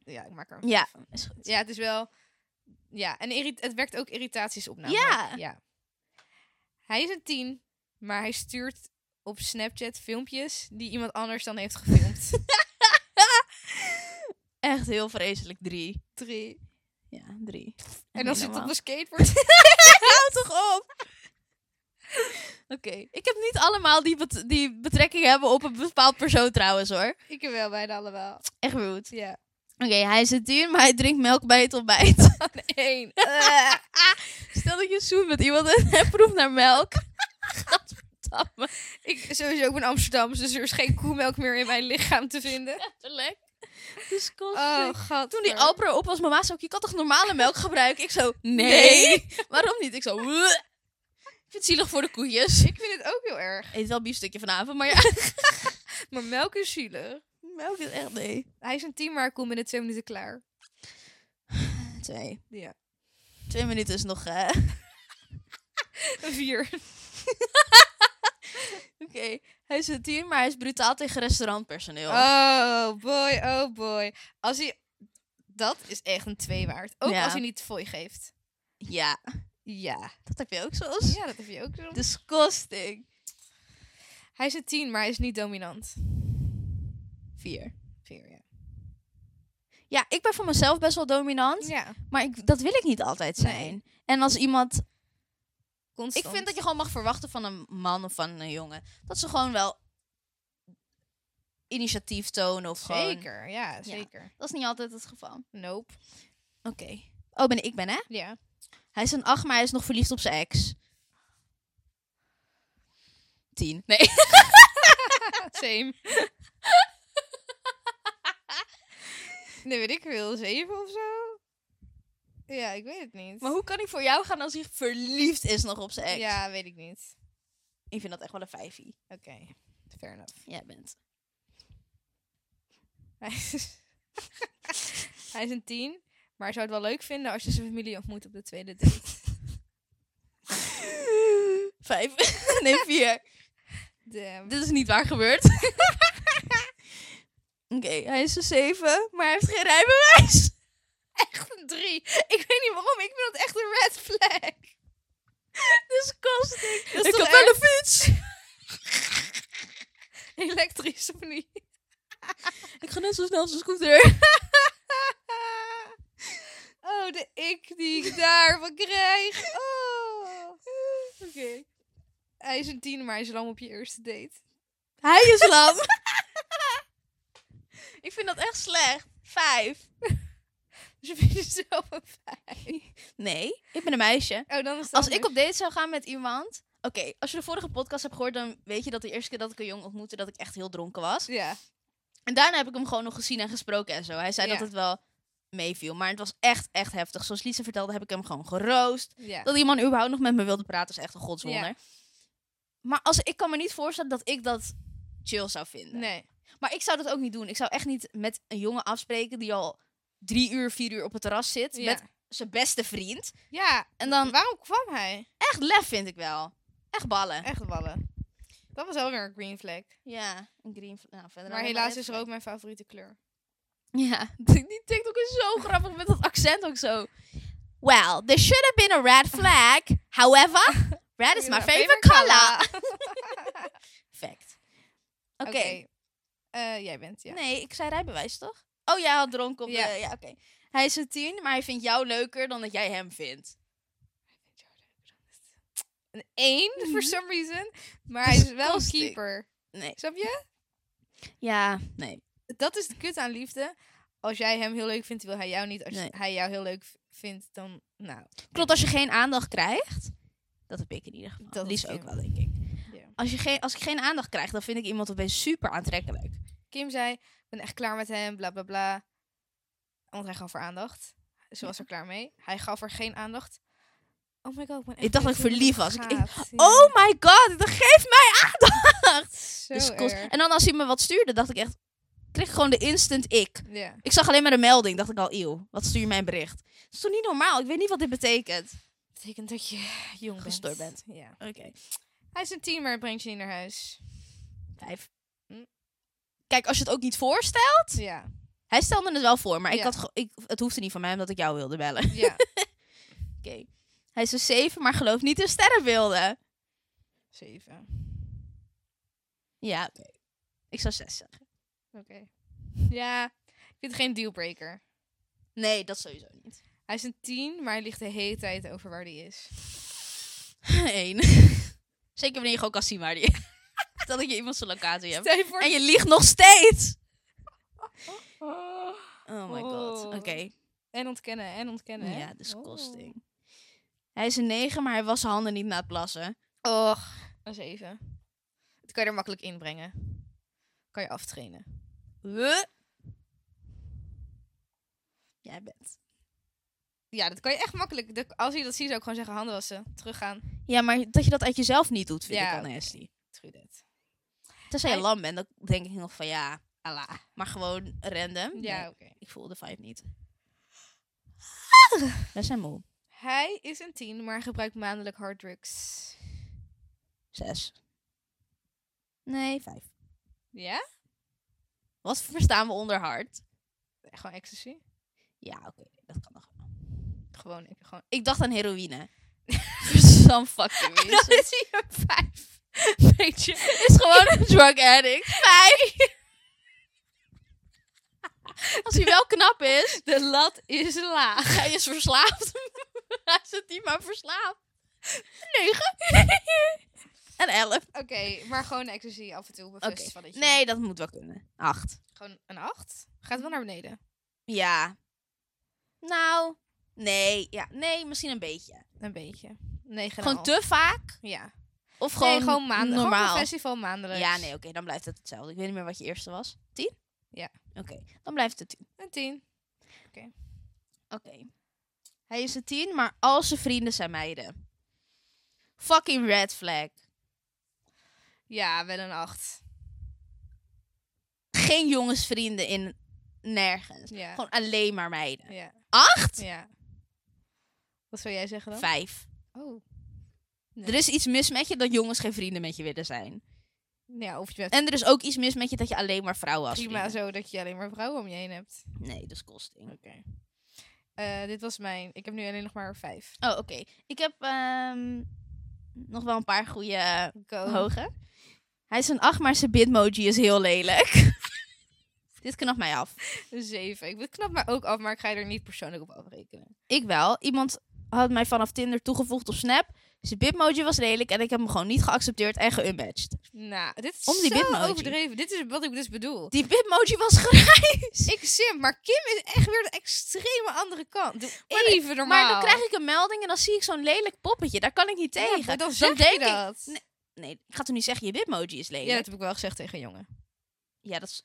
[SPEAKER 1] Ja, ik maak er een
[SPEAKER 2] Ja,
[SPEAKER 1] vijf van.
[SPEAKER 2] is goed.
[SPEAKER 1] Ja, het is wel... Ja, en irri- het werkt ook irritaties op namelijk.
[SPEAKER 2] Ja.
[SPEAKER 1] ja. Hij is een 10, maar hij stuurt op Snapchat filmpjes die iemand anders dan heeft gefilmd.
[SPEAKER 2] Echt heel vreselijk. <laughs> Drie.
[SPEAKER 1] Drie.
[SPEAKER 2] Ja, drie.
[SPEAKER 1] En als hij
[SPEAKER 2] Helemaal.
[SPEAKER 1] op een skateboard <laughs>
[SPEAKER 2] <laughs> Hou toch op! Oké, ik heb niet allemaal die, bet- die betrekking hebben op een bepaald persoon trouwens hoor.
[SPEAKER 1] Ik wel bijna allemaal.
[SPEAKER 2] Echt rude.
[SPEAKER 1] Ja.
[SPEAKER 2] Oké, hij is het duur, maar hij drinkt melk bij het <laughs> ontbijt.
[SPEAKER 1] Eén.
[SPEAKER 2] Stel dat je zoet met iemand en hij proeft naar <laughs> melk. Gadverdamme.
[SPEAKER 1] ik sowieso ook ben Amsterdams, dus er is geen koemelk meer in mijn lichaam te vinden.
[SPEAKER 2] Letterlijk. Disgusting.
[SPEAKER 1] Oh, god.
[SPEAKER 2] Toen die Alpro op was, mama zei ook, je kan toch normale melk gebruiken? Ik zo, nee. Waarom niet? Ik zo, "Wuh." Ik vind het zielig voor de koetjes. Ik
[SPEAKER 1] Ik vind het ook heel erg.
[SPEAKER 2] eet wel biefstukje vanavond, maar ja.
[SPEAKER 1] Maar melk is zielig.
[SPEAKER 2] <laughs> melk is echt nee.
[SPEAKER 1] Hij is een team, maar ik kom binnen twee minuten klaar. <laughs>
[SPEAKER 2] Twee.
[SPEAKER 1] Ja.
[SPEAKER 2] Twee minuten is nog... eh,
[SPEAKER 1] Een vier.
[SPEAKER 2] <laughs> Oké, hij is een team, maar hij is brutaal tegen restaurantpersoneel.
[SPEAKER 1] Oh boy, oh boy. Als hij... Dat is echt een twee waard. Ook
[SPEAKER 2] Ja.
[SPEAKER 1] als hij niet fooi geeft.
[SPEAKER 2] Ja,
[SPEAKER 1] Ja.
[SPEAKER 2] dat heb je ook zoals.
[SPEAKER 1] Ja, dat heb je ook zo.
[SPEAKER 2] Disgusting.
[SPEAKER 1] Hij is een tien, maar hij is niet dominant.
[SPEAKER 2] Vier.
[SPEAKER 1] Vier, ja.
[SPEAKER 2] Ja, ik ben voor mezelf best wel dominant,
[SPEAKER 1] Ja,
[SPEAKER 2] maar ik, dat wil ik niet altijd zijn. En als iemand...
[SPEAKER 1] constant.
[SPEAKER 2] Ik vind dat je gewoon mag verwachten van een man of van een jongen. Dat ze gewoon wel initiatief tonen of gewoon...
[SPEAKER 1] Zeker, ja, zeker.
[SPEAKER 2] Dat is niet altijd het geval.
[SPEAKER 1] Nope.
[SPEAKER 2] Oké. Oh, ben ik ben, hè?
[SPEAKER 1] Ja.
[SPEAKER 2] Hij is een acht, maar hij is nog verliefd op zijn ex. Tien. Nee.
[SPEAKER 1] Same. <laughs> nee, weet ik veel. Zeven of zo? Ja, ik weet het niet.
[SPEAKER 2] <laughs> Maar hoe kan hij voor jou gaan als hij verliefd is nog op zijn ex?
[SPEAKER 1] Ja, weet ik niet.
[SPEAKER 2] Ik vind dat echt wel een vijfie.
[SPEAKER 1] Oké, fair enough. <laughs>
[SPEAKER 2] Jij <laughs> bent.
[SPEAKER 1] Hij is, hij is een tien, maar zou het wel leuk vinden als je zijn familie ontmoet op de tweede date.
[SPEAKER 2] <laughs> Vijf. nee, vier.
[SPEAKER 1] Damn.
[SPEAKER 2] Dit is niet waar gebeurd. <laughs> Oké, hij is een 7, maar hij heeft geen rijbewijs. <laughs>
[SPEAKER 1] Echt een drie. Ik weet niet waarom. Ik vind dat echt een red flag.
[SPEAKER 2] Dus kost
[SPEAKER 1] Dat is
[SPEAKER 2] Ik
[SPEAKER 1] toch
[SPEAKER 2] heb wel
[SPEAKER 1] echt
[SPEAKER 2] een fiets.
[SPEAKER 1] elektrisch of niet?
[SPEAKER 2] Ik ga net zo snel als een scooter.
[SPEAKER 1] <laughs> Oh, de ik die ik daarvan krijg. Oh.
[SPEAKER 2] <laughs>
[SPEAKER 1] Oké. Hij is een tien, maar hij is lang op je eerste date.
[SPEAKER 2] <laughs> Hij is <laughs> lam. ik vind dat echt slecht. 5.
[SPEAKER 1] Dus je vindt jezelf een vijf.
[SPEAKER 2] Nee, ik ben een meisje.
[SPEAKER 1] Oh, dan is het
[SPEAKER 2] Als ik
[SPEAKER 1] anders.
[SPEAKER 2] op date zou gaan met iemand... Oké, als je de vorige podcast hebt gehoord, dan weet je dat de eerste keer dat ik een jongen ontmoette, dat ik echt heel dronken was.
[SPEAKER 1] Ja.
[SPEAKER 2] En daarna heb ik hem gewoon nog gezien en gesproken en zo. Hij zei dat
[SPEAKER 1] Ja.
[SPEAKER 2] het wel meeviel, maar het was echt, echt heftig. Zoals Lisa vertelde, heb ik hem gewoon geroost.
[SPEAKER 1] Ja.
[SPEAKER 2] Dat die man überhaupt nog met me wilde praten is echt een godswonder.
[SPEAKER 1] Ja.
[SPEAKER 2] Maar als, ik kan me niet voorstellen dat ik dat chill zou vinden.
[SPEAKER 1] Nee.
[SPEAKER 2] Maar ik zou dat ook niet doen. Ik zou echt niet met een jongen afspreken die al drie uur, vier uur op het terras zit.
[SPEAKER 1] Ja.
[SPEAKER 2] Met zijn beste vriend.
[SPEAKER 1] ja.
[SPEAKER 2] En dan
[SPEAKER 1] Waarom kwam hij?
[SPEAKER 2] echt lef vind ik wel. Echt ballen.
[SPEAKER 1] Echt ballen. Dat was ook weer een green flag.
[SPEAKER 2] Ja, een green. fl- Nou, verder
[SPEAKER 1] Maar
[SPEAKER 2] allemaal
[SPEAKER 1] helaas
[SPEAKER 2] red
[SPEAKER 1] is
[SPEAKER 2] flag.
[SPEAKER 1] rood mijn favoriete kleur.
[SPEAKER 2] <laughs> Ja, die die TikTok is
[SPEAKER 1] <laughs>
[SPEAKER 2] zo grappig met dat accent ook zo. Well, there should have been a red flag.
[SPEAKER 1] <laughs>
[SPEAKER 2] However, red is my favorite color. Fact. Oké.
[SPEAKER 1] Oké. Eh, jij bent, ja.
[SPEAKER 2] Nee, ik zei rijbewijs toch? Oh, jij had dronken op de-
[SPEAKER 1] Ja.
[SPEAKER 2] ja. oké. Hij is een tien, maar hij vindt jou leuker dan dat jij hem vindt.
[SPEAKER 1] dus, Een één,
[SPEAKER 2] Mhm.
[SPEAKER 1] for some reason. Maar
[SPEAKER 2] Dat
[SPEAKER 1] hij
[SPEAKER 2] is
[SPEAKER 1] is wel een
[SPEAKER 2] kostig.
[SPEAKER 1] keeper.
[SPEAKER 2] Nee.
[SPEAKER 1] Snap je?
[SPEAKER 2] Ja, nee.
[SPEAKER 1] Dat is de kut aan liefde. Als jij hem heel leuk vindt, wil hij jou niet. Als
[SPEAKER 2] Nee.
[SPEAKER 1] hij jou heel leuk v- vindt, dan... Nou,
[SPEAKER 2] Klopt, als je geen aandacht krijgt. Dat heb ik in ieder geval.
[SPEAKER 1] Dat
[SPEAKER 2] Dat
[SPEAKER 1] is
[SPEAKER 2] Lies
[SPEAKER 1] Kim.
[SPEAKER 2] ook wel, denk ik.
[SPEAKER 1] Ja.
[SPEAKER 2] Als, je geen, als ik geen aandacht krijg, dan vind ik iemand opeens super aantrekkelijk.
[SPEAKER 1] Kim zei, ik ben echt klaar met hem, bla bla bla. Want hij gaf haar aandacht. Ze was er klaar mee. Hij gaf haar geen aandacht. Oh my god, ik ben echt
[SPEAKER 2] Ik dacht dat ik
[SPEAKER 1] blij je
[SPEAKER 2] verliefd
[SPEAKER 1] nog
[SPEAKER 2] was. Ik- ik-
[SPEAKER 1] gaat. Ja,
[SPEAKER 2] Oh my god, dat geeft mij aandacht!
[SPEAKER 1] zo
[SPEAKER 2] Dus kost-
[SPEAKER 1] erg.
[SPEAKER 2] En dan als hij me wat stuurde, dacht ik echt... Kreeg ik gewoon de instant ik.
[SPEAKER 1] Ja.
[SPEAKER 2] Ik zag alleen maar de melding, dacht ik al, eeuw, wat stuur je mijn bericht? Dat is toch niet normaal? Ik weet niet wat dit betekent.
[SPEAKER 1] betekent dat je jong
[SPEAKER 2] Gestoord
[SPEAKER 1] bent. Ja.
[SPEAKER 2] Oké.
[SPEAKER 1] Hij is een tien, maar het brengt je niet naar huis.
[SPEAKER 2] Vijf.
[SPEAKER 1] Hm.
[SPEAKER 2] Kijk, als je het ook niet voorstelt...
[SPEAKER 1] Ja.
[SPEAKER 2] Hij stelde het wel voor, maar ik
[SPEAKER 1] Ja.
[SPEAKER 2] had ge- ik, het hoefde niet van mij omdat ik jou wilde bellen. <laughs>
[SPEAKER 1] Ja.
[SPEAKER 2] Oké. Hij is een zeven, maar geloof niet in sterrenbeelden.
[SPEAKER 1] Zeven.
[SPEAKER 2] Ja, oké. Ik zou zes zeggen.
[SPEAKER 1] Oké. Ja. Ik vind het geen dealbreaker.
[SPEAKER 2] Nee, dat sowieso niet. <laughs>
[SPEAKER 1] Hij is een tien, maar hij ligt de hele tijd over waar hij is.
[SPEAKER 2] Eén. <laughs> Zeker wanneer je gewoon kan zien waar die <laughs> Dat je iemand zijn locatie
[SPEAKER 1] <laughs>
[SPEAKER 2] hebt.
[SPEAKER 1] Stel je voor...
[SPEAKER 2] En je liegt nog steeds.
[SPEAKER 1] Oh.
[SPEAKER 2] Oh my god. Oké.
[SPEAKER 1] Oh. En ontkennen, en ontkennen. hè?
[SPEAKER 2] Ja, dus disgusting.
[SPEAKER 1] Oh.
[SPEAKER 2] Hij is een 9, maar hij was zijn handen niet na het plassen.
[SPEAKER 1] Och, een zeven. Dat kan je er makkelijk inbrengen. Kan je aftrainen.
[SPEAKER 2] Huh? Jij bent.
[SPEAKER 1] Ja, dat kan je echt makkelijk. Dat- als je dat ziet, zou ik gewoon zeggen handen wassen. Teruggaan.
[SPEAKER 2] Ja, maar dat je dat uit jezelf niet doet, vind
[SPEAKER 1] Ja,
[SPEAKER 2] ik
[SPEAKER 1] oké.
[SPEAKER 2] al nasty.
[SPEAKER 1] True that.
[SPEAKER 2] Tenzij je
[SPEAKER 1] Hij-
[SPEAKER 2] lam bent, dan denk ik nog van ja, ala. Maar gewoon random.
[SPEAKER 1] Ja,
[SPEAKER 2] Nee,
[SPEAKER 1] oké.
[SPEAKER 2] ik voel de vibe
[SPEAKER 1] <laughs>
[SPEAKER 2] niet. Wij zijn moe.
[SPEAKER 1] Hij is een tien, maar gebruikt maandelijk harddrugs.
[SPEAKER 2] Zes. Nee, vijf.
[SPEAKER 1] Ja?
[SPEAKER 2] Wat verstaan we onder hard?
[SPEAKER 1] Gewoon ecstasy?
[SPEAKER 2] Ja, oké, dat kan nog wel.
[SPEAKER 1] Gewoon, ik, <laughs> gewoon.
[SPEAKER 2] Ik dacht aan heroïne. For some fucking
[SPEAKER 1] <laughs> Dan
[SPEAKER 2] reason.
[SPEAKER 1] is hij een vijf. Weet je?
[SPEAKER 2] is gewoon een drug addict. Vijf. Als hij wel knap is,
[SPEAKER 1] De lat is laag.
[SPEAKER 2] hij is verslaafd. <laughs> hij zit niet maar verslaafd. Negen. en elf.
[SPEAKER 1] Oké, maar gewoon ecstasy af en toe. Bevust van dat je-
[SPEAKER 2] Nee, dat moet wel kunnen. Acht.
[SPEAKER 1] Gewoon een acht. Gaat wel naar beneden.
[SPEAKER 2] Ja. Nou. Nee, ja. Nee, misschien een beetje.
[SPEAKER 1] Een beetje. Negen
[SPEAKER 2] Gewoon te vaak?
[SPEAKER 1] Ja.
[SPEAKER 2] Of gewoon,
[SPEAKER 1] Gewoon, nee, gewoon maandelijk. Normaal.
[SPEAKER 2] normaal?
[SPEAKER 1] Gewoon een festival maandelijks.
[SPEAKER 2] ja, nee, oké, dan blijft het hetzelfde. Ik weet niet meer wat je eerste was. Tien?
[SPEAKER 1] Ja.
[SPEAKER 2] Oké, dan blijft het tien.
[SPEAKER 1] Een tien.
[SPEAKER 2] Oké. Hij is een tien, maar al zijn vrienden zijn meiden. Fucking red flag.
[SPEAKER 1] Ja, wel een acht.
[SPEAKER 2] Geen jongensvrienden in nergens.
[SPEAKER 1] Ja.
[SPEAKER 2] Gewoon alleen maar meiden.
[SPEAKER 1] Ja.
[SPEAKER 2] Acht?
[SPEAKER 1] ja. Wat zou jij zeggen dan?
[SPEAKER 2] Vijf.
[SPEAKER 1] Oh.
[SPEAKER 2] Er is iets mis met je dat jongens geen vrienden met je willen zijn.
[SPEAKER 1] Nou Ja, of je bent
[SPEAKER 2] En er is ook iets mis met je dat je alleen maar vrouwen als
[SPEAKER 1] prima
[SPEAKER 2] vrienden-
[SPEAKER 1] zo dat je alleen maar vrouwen om je heen hebt.
[SPEAKER 2] Nee, dat is kosting.
[SPEAKER 1] Oké. Eh, dit was mijn. Ik heb nu alleen nog maar vijf.
[SPEAKER 2] Oh, oké. Ik heb ehm, nog wel een paar eh, goede
[SPEAKER 1] Go.
[SPEAKER 2] hoge. Hij is een 8, maar zijn bitmoji is heel lelijk. <laughs> Dit knapt mij af.
[SPEAKER 1] Zeven. Ik het knap maar ook af, maar ik ga je er niet persoonlijk op afrekenen.
[SPEAKER 2] Ik wel. Iemand had mij vanaf Tinder toegevoegd op Snap. Zijn bitmoji was lelijk en ik heb hem gewoon niet geaccepteerd en geunmatched.
[SPEAKER 1] Nou, dit is
[SPEAKER 2] Om die
[SPEAKER 1] zo
[SPEAKER 2] bitmoji.
[SPEAKER 1] overdreven. Dit is wat ik dus bedoel.
[SPEAKER 2] Die bitmoji was <laughs> grijs.
[SPEAKER 1] Ik sim, maar Kim is echt weer de extreme andere kant. Doe
[SPEAKER 2] Maar-
[SPEAKER 1] even normaal.
[SPEAKER 2] Maar dan krijg ik een melding en dan zie ik zo'n lelijk poppetje. Daar kan ik niet tegen.
[SPEAKER 1] Ja, maar dan zeg
[SPEAKER 2] denk
[SPEAKER 1] je
[SPEAKER 2] ik-
[SPEAKER 1] dat.
[SPEAKER 2] Nee, Nee, ik ga toen niet zeggen, je bitmoji is lelijk.
[SPEAKER 1] ja, dat heb ik wel gezegd tegen een jongen.
[SPEAKER 2] Ja, dat is...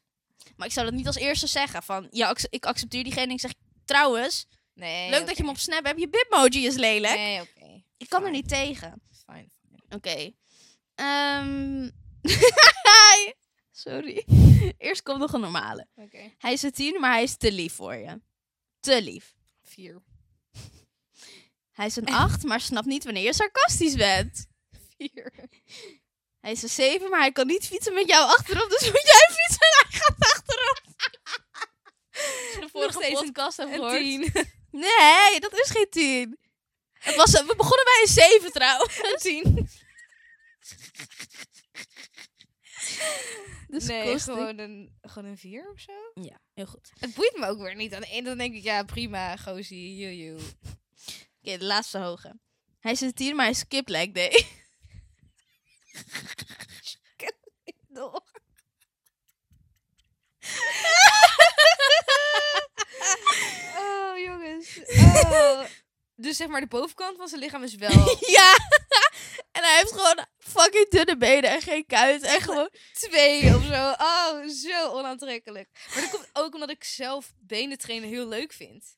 [SPEAKER 2] Maar ik zou dat niet als eerste zeggen. Van, ja, acce- ik accepteer diegene. Ik zeg, trouwens,
[SPEAKER 1] Nee.
[SPEAKER 2] leuk dat je hem op Snap hebt. Je bitmoji is lelijk.
[SPEAKER 1] Nee, oké.
[SPEAKER 2] ik kan er
[SPEAKER 1] fine.
[SPEAKER 2] niet tegen.
[SPEAKER 1] Fine, fine.
[SPEAKER 2] Oké. Ehm, <laughs> Sorry. Eerst komt nog een normale.
[SPEAKER 1] Oké.
[SPEAKER 2] Hij is een tien, maar hij is te lief voor je. Te lief.
[SPEAKER 1] Vier.
[SPEAKER 2] Hij <laughs> is een acht, maar snapt niet wanneer je sarcastisch bent.
[SPEAKER 1] Vier.
[SPEAKER 2] Hij is een zeven, maar hij kan niet fietsen met jou achterop. Dus moet jij fietsen en hij gaat achterop. De vorige
[SPEAKER 1] steeds een-
[SPEAKER 2] podcast heb
[SPEAKER 1] Een
[SPEAKER 2] gehoord.
[SPEAKER 1] tien.
[SPEAKER 2] Nee, dat is geen tien. Het was, we begonnen bij een zeven trouwens. <laughs> Een tien. Dus
[SPEAKER 1] nee,
[SPEAKER 2] kost ik-
[SPEAKER 1] gewoon een, gewoon een vier of zo.
[SPEAKER 2] Ja, heel goed. Oké,
[SPEAKER 1] Het boeit me ook weer niet. Aan de ene dan denk ik, ja, prima, gozie, joejoe.
[SPEAKER 2] de laatste hoge. Hij is een tien, maar hij skipt leg day. <laughs>
[SPEAKER 1] Oh, jongens. Oh. Dus zeg maar, de bovenkant van zijn lichaam is <laughs> wel
[SPEAKER 2] ja. <laughs> En hij heeft gewoon fucking dunne benen en geen kuit. En gewoon...
[SPEAKER 1] twee of zo. Oh, zo onaantrekkelijk. Maar dat komt ook omdat ik zelf benen trainen heel leuk vind.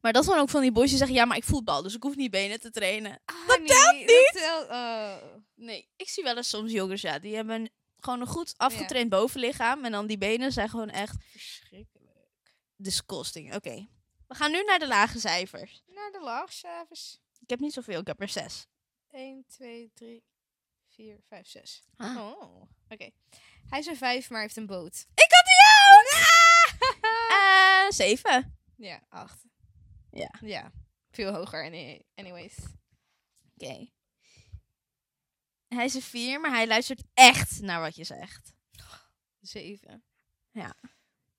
[SPEAKER 2] Maar dat is dan ook van die boys die zeggen... Ja, maar ik voetbal, dus ik hoef niet benen te trainen.
[SPEAKER 1] Ah, dat telt niet. Dat telt, oh.
[SPEAKER 2] Nee, ik zie wel eens soms jongens, ja. Die hebben een- gewoon een goed afgetraind bovenlichaam. En dan die benen zijn gewoon echt
[SPEAKER 1] Verschrikkelijk.
[SPEAKER 2] disgusting. Oké. We gaan nu naar de lage cijfers.
[SPEAKER 1] Naar de laagcijfers.
[SPEAKER 2] Ik heb niet zoveel, ik heb er zes.
[SPEAKER 1] 1, 2, 3, 4, 5, 6.
[SPEAKER 2] Ah.
[SPEAKER 1] Oh, oké. Hij is een vijf, maar heeft een boot.
[SPEAKER 2] Ik had die ook!
[SPEAKER 1] Ah! <laughs>
[SPEAKER 2] Eh, zeven.
[SPEAKER 1] Ja, acht.
[SPEAKER 2] Ja.
[SPEAKER 1] Ja, veel hoger. any- Anyways.
[SPEAKER 2] Oké. Hij is een vier, maar hij luistert echt naar wat je zegt.
[SPEAKER 1] Zeven.
[SPEAKER 2] Ja.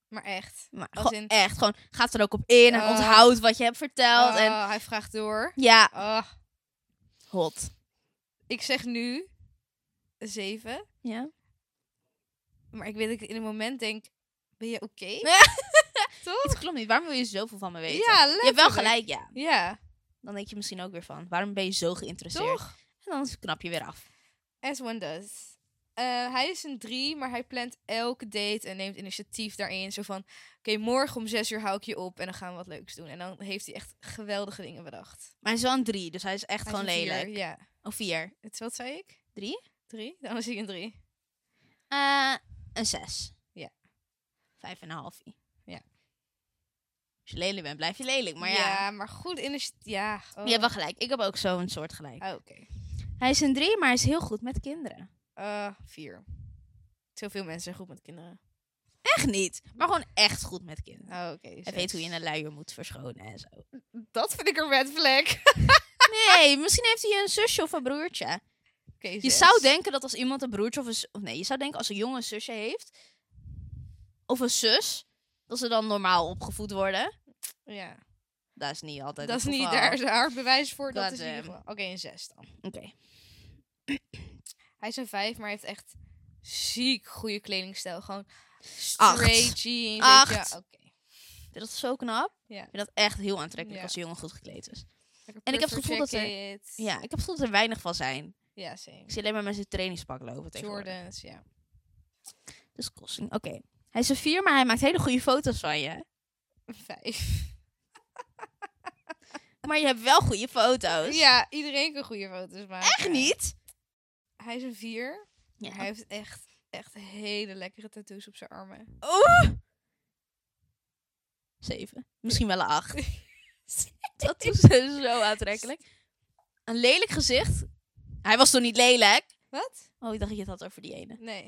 [SPEAKER 1] Maar echt.
[SPEAKER 2] Maar
[SPEAKER 1] Als
[SPEAKER 2] gewoon
[SPEAKER 1] in-
[SPEAKER 2] echt, gewoon gaat er ook op in en
[SPEAKER 1] Ah.
[SPEAKER 2] onthoudt wat je hebt verteld. En
[SPEAKER 1] Oh, hij vraagt door.
[SPEAKER 2] ja,
[SPEAKER 1] Oh,
[SPEAKER 2] hot.
[SPEAKER 1] ik zeg nu een zeven.
[SPEAKER 2] Ja.
[SPEAKER 1] Maar ik weet dat ik in een moment denk, ben je oké?
[SPEAKER 2] <laughs>
[SPEAKER 1] Toch?
[SPEAKER 2] Het klopt niet. Waarom wil je zoveel van me weten?
[SPEAKER 1] Ja,
[SPEAKER 2] je hebt wel
[SPEAKER 1] letterlijk.
[SPEAKER 2] gelijk, ja.
[SPEAKER 1] Ja,
[SPEAKER 2] Dan denk je misschien ook weer van, waarom ben je zo geïnteresseerd?
[SPEAKER 1] toch?
[SPEAKER 2] En dan knap je weer af.
[SPEAKER 1] As one does. Eh, hij is een drie, maar hij plant elke date en neemt initiatief daarin. Zo van, oké, morgen om zes uur hou ik je op en dan gaan we wat leuks doen. En dan heeft hij echt geweldige dingen bedacht.
[SPEAKER 2] Maar hij is wel een drie, dus hij is echt
[SPEAKER 1] Hij is
[SPEAKER 2] gewoon
[SPEAKER 1] een vier,
[SPEAKER 2] lelijk.
[SPEAKER 1] Ja.
[SPEAKER 2] Of vier.
[SPEAKER 1] Het, is- wat zei ik?
[SPEAKER 2] Drie?
[SPEAKER 1] Drie? Dan was ik een drie.
[SPEAKER 2] Eh, een zes.
[SPEAKER 1] Ja.
[SPEAKER 2] Vijf en een halfie.
[SPEAKER 1] Ja.
[SPEAKER 2] Als je lelijk bent, blijf je lelijk. Maar ja,
[SPEAKER 1] maar goed initiatief. Ja. oh.
[SPEAKER 2] je hebt wel gelijk. Ik heb ook zo'n soort gelijk.
[SPEAKER 1] Ah, Oké.
[SPEAKER 2] Hij is een drie, maar hij is heel goed met kinderen.
[SPEAKER 1] Eh, vier. Zoveel mensen zijn goed met kinderen.
[SPEAKER 2] Echt niet. Maar gewoon echt goed met kinderen.
[SPEAKER 1] Ah, Oké.
[SPEAKER 2] Hij
[SPEAKER 1] zes.
[SPEAKER 2] weet hoe je een luier moet verschonen en zo.
[SPEAKER 1] Dat vind ik een red flag. Oké,
[SPEAKER 2] <laughs> Nee, misschien heeft hij een zusje of een broertje. Je
[SPEAKER 1] zes.
[SPEAKER 2] zou denken dat als iemand een broertje of een... z- Of nee, je zou denken als een jongen een zusje heeft... Of een zus... Dat ze dan normaal opgevoed worden.
[SPEAKER 1] Ja.
[SPEAKER 2] Dat is niet altijd
[SPEAKER 1] Dat is
[SPEAKER 2] het
[SPEAKER 1] niet
[SPEAKER 2] geval.
[SPEAKER 1] daar is haar bewijs voor. Dat
[SPEAKER 2] Dat,
[SPEAKER 1] is in ieder
[SPEAKER 2] ehm,
[SPEAKER 1] geval. Oké, een zes dan.
[SPEAKER 2] Oké.
[SPEAKER 1] Hij is een vijf, maar hij heeft echt ziek goede kledingstijl. Gewoon straight jeans. weet je.
[SPEAKER 2] Acht.
[SPEAKER 1] Oké.
[SPEAKER 2] Dat is zo knap.
[SPEAKER 1] Ja.
[SPEAKER 2] Ik vind dat echt heel aantrekkelijk
[SPEAKER 1] Ja.
[SPEAKER 2] als een jongen goed gekleed is.
[SPEAKER 1] Lekker
[SPEAKER 2] En ik heb het
[SPEAKER 1] puffer
[SPEAKER 2] gevoel dat er-
[SPEAKER 1] jacket.
[SPEAKER 2] Ja, ik heb het gevoel dat er weinig van zijn.
[SPEAKER 1] Ja, same.
[SPEAKER 2] Ik zie alleen maar mensen in trainingspak lopen tegenwoordig.
[SPEAKER 1] Jordans, ja.
[SPEAKER 2] Dus kosting. Oké. Hij is een vier, maar hij maakt hele goede foto's van je.
[SPEAKER 1] Een Vijf.
[SPEAKER 2] Maar je hebt wel goede foto's.
[SPEAKER 1] Ja, iedereen kan goede foto's maken.
[SPEAKER 2] Echt niet? Oh.
[SPEAKER 1] Hij is een vier.
[SPEAKER 2] Ja.
[SPEAKER 1] Hij heeft echt, echt hele lekkere tattoos op zijn armen.
[SPEAKER 2] Oeh! Oh. Zeven. Misschien wel een
[SPEAKER 1] <laughs>
[SPEAKER 2] acht. dat is zo aantrekkelijk. Een lelijk gezicht. Hij was toch niet lelijk?
[SPEAKER 1] Wat?
[SPEAKER 2] Oh, ik dacht dat je het had over die ene.
[SPEAKER 1] Nee.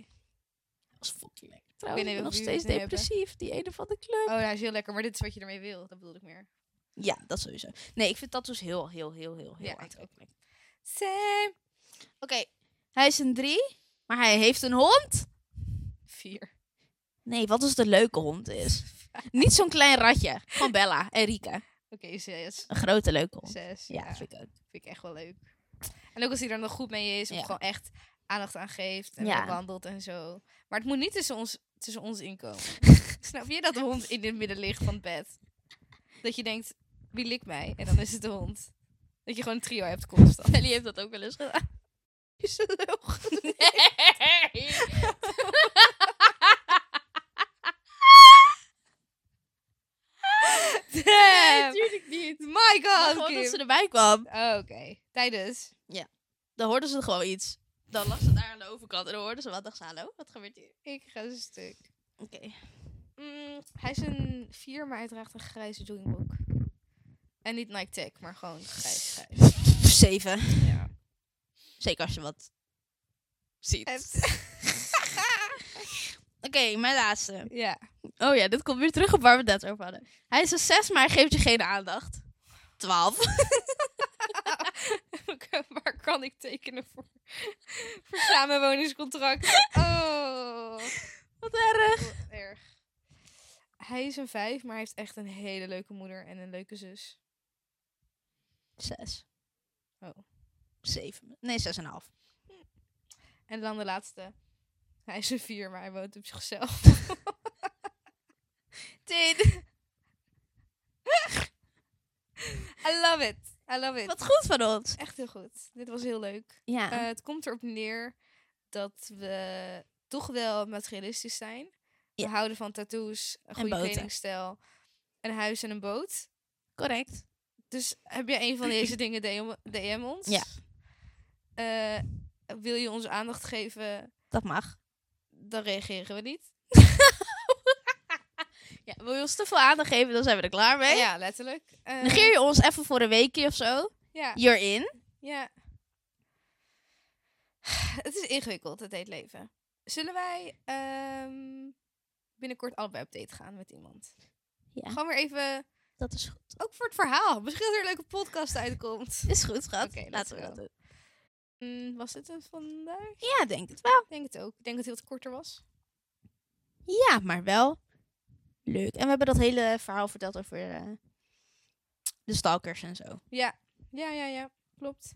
[SPEAKER 2] Dat was fucking lekker. Trouwens,
[SPEAKER 1] Ik
[SPEAKER 2] ik
[SPEAKER 1] weet
[SPEAKER 2] ben
[SPEAKER 1] niet
[SPEAKER 2] nog
[SPEAKER 1] of jullie
[SPEAKER 2] steeds
[SPEAKER 1] het nu hebben.
[SPEAKER 2] depressief. Die ene van de club.
[SPEAKER 1] Oh, nou is heel lekker, maar dit is wat je ermee wil. Dat bedoel ik meer.
[SPEAKER 2] Ja, dat sowieso. Nee, ik vind tattoos heel, heel, heel, heel, heel
[SPEAKER 1] Ja, ik
[SPEAKER 2] aantrekkelijk.
[SPEAKER 1] Same.
[SPEAKER 2] Oké, hij is een drie, maar hij heeft een hond.
[SPEAKER 1] Vier.
[SPEAKER 2] Nee, wat als de leuke hond <laughs> is? Niet zo'n klein ratje. Gewoon Bella en Rika.
[SPEAKER 1] Oké, zes.
[SPEAKER 2] Een grote leuke hond.
[SPEAKER 1] Zes.
[SPEAKER 2] Oh, Ja, vind ik ook.
[SPEAKER 1] Vind ik echt wel leuk. En ook als hij er nog goed mee is, of
[SPEAKER 2] Ja.
[SPEAKER 1] gewoon echt aandacht aan geeft en
[SPEAKER 2] Ja.
[SPEAKER 1] wandelt en zo. Maar het moet niet tussen ons, tussen ons
[SPEAKER 2] <laughs>
[SPEAKER 1] inkomen. Snap je dat de hond in het midden ligt van het bed? Dat je denkt, wie likt mij? En dan is het de hond. Dat je gewoon een trio hebt
[SPEAKER 2] <laughs>
[SPEAKER 1] constant.
[SPEAKER 2] Ellie heeft dat ook wel eens <laughs> gedaan.
[SPEAKER 1] Is dat heel goed?
[SPEAKER 2] Nee.
[SPEAKER 1] Damn!
[SPEAKER 2] natuurlijk niet.
[SPEAKER 1] My
[SPEAKER 2] Maar
[SPEAKER 1] god,
[SPEAKER 2] gewoon dat
[SPEAKER 1] Kim.
[SPEAKER 2] ze erbij kwam.
[SPEAKER 1] Oh, Oké, tijdens.
[SPEAKER 2] Dan hoorden ze gewoon iets. Dan lag ze daar aan de overkant en dan hoorden ze wat. dacht ze, hallo, wat gebeurt hier?
[SPEAKER 1] Ik ga een stuk.
[SPEAKER 2] Oké.
[SPEAKER 1] Mm, hij is een vier, maar hij draagt een grijze joggingbroek. En niet Nike Tech, maar gewoon grijs, grijs.
[SPEAKER 2] <laughs> Zeven.
[SPEAKER 1] Ja.
[SPEAKER 2] Zeker als je wat ziet. Oké,
[SPEAKER 1] Het-
[SPEAKER 2] mijn laatste.
[SPEAKER 1] <laughs> ja.
[SPEAKER 2] Oh ja, dit komt weer terug op waar we het net over hadden. Hij is een zes, maar hij geeft je geen aandacht. Twaalf.
[SPEAKER 1] <laughs> Oké, Waar kan ik tekenen voor? voor samenwoningscontract. <laughs> Oh,
[SPEAKER 2] <laughs> Wat erg.
[SPEAKER 1] <laughs> wat erg. Hij is een vijf, maar hij heeft echt een hele leuke moeder en een leuke zus.
[SPEAKER 2] Zes.
[SPEAKER 1] Oh.
[SPEAKER 2] Zeven. Nee, zes en een half.
[SPEAKER 1] En dan de laatste. Hij is een vier, maar hij woont op zichzelf. <laughs>
[SPEAKER 2] Tien.
[SPEAKER 1] I love it. I love it.
[SPEAKER 2] Wat goed van ons.
[SPEAKER 1] Echt heel goed. Dit was heel leuk.
[SPEAKER 2] Ja.
[SPEAKER 1] Eh, het komt erop neer dat we toch wel materialistisch zijn. We
[SPEAKER 2] Ja.
[SPEAKER 1] houden van tattoos, een
[SPEAKER 2] En
[SPEAKER 1] goede
[SPEAKER 2] boten.
[SPEAKER 1] kledingstijl, een huis en een boot.
[SPEAKER 2] correct.
[SPEAKER 1] Dus heb je
[SPEAKER 2] <clears throat>
[SPEAKER 1] een van deze dingen, DM, DM ons.
[SPEAKER 2] Ja.
[SPEAKER 1] Eh, wil je ons aandacht geven,
[SPEAKER 2] Dat mag.
[SPEAKER 1] dan reageren we niet.
[SPEAKER 2] Ja, wil je ons te veel aandacht geven, dan zijn we er klaar mee.
[SPEAKER 1] Ja, letterlijk. Eh,
[SPEAKER 2] Negeer je ons even voor een weekje of zo.
[SPEAKER 1] Ja,
[SPEAKER 2] You're in.
[SPEAKER 1] ja. <sighs> Het is ingewikkeld, het heet leven. Zullen wij ehm, binnenkort allebei op date gaan met iemand?
[SPEAKER 2] Ja.
[SPEAKER 1] Gewoon weer even...
[SPEAKER 2] Dat is goed.
[SPEAKER 1] Ook voor het verhaal. Misschien dat er een leuke podcast uitkomt.
[SPEAKER 2] Is goed, schat.
[SPEAKER 1] Oké,
[SPEAKER 2] Laten we
[SPEAKER 1] let's
[SPEAKER 2] dat doen.
[SPEAKER 1] Mm, was dit een vandaag?
[SPEAKER 2] Ja, denk het wel.
[SPEAKER 1] Ik denk het ook. Ik denk dat hij wat korter was.
[SPEAKER 2] Ja, maar wel leuk. En we hebben dat hele verhaal verteld over eh, de stalkers en zo. Oké,
[SPEAKER 1] Ja, ja, ja, ja. Klopt.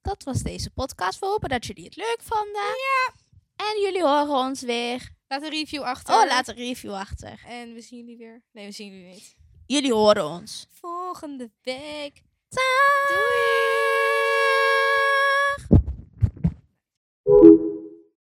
[SPEAKER 2] dat was deze podcast. We hopen dat jullie het leuk vonden. Ja. En jullie horen ons weer.
[SPEAKER 1] Laat een review achter.
[SPEAKER 2] Oh, laat een review achter.
[SPEAKER 1] En we zien jullie weer. Nee, we zien jullie niet.
[SPEAKER 2] Jullie horen ons.
[SPEAKER 1] Volgende week.
[SPEAKER 2] Doei!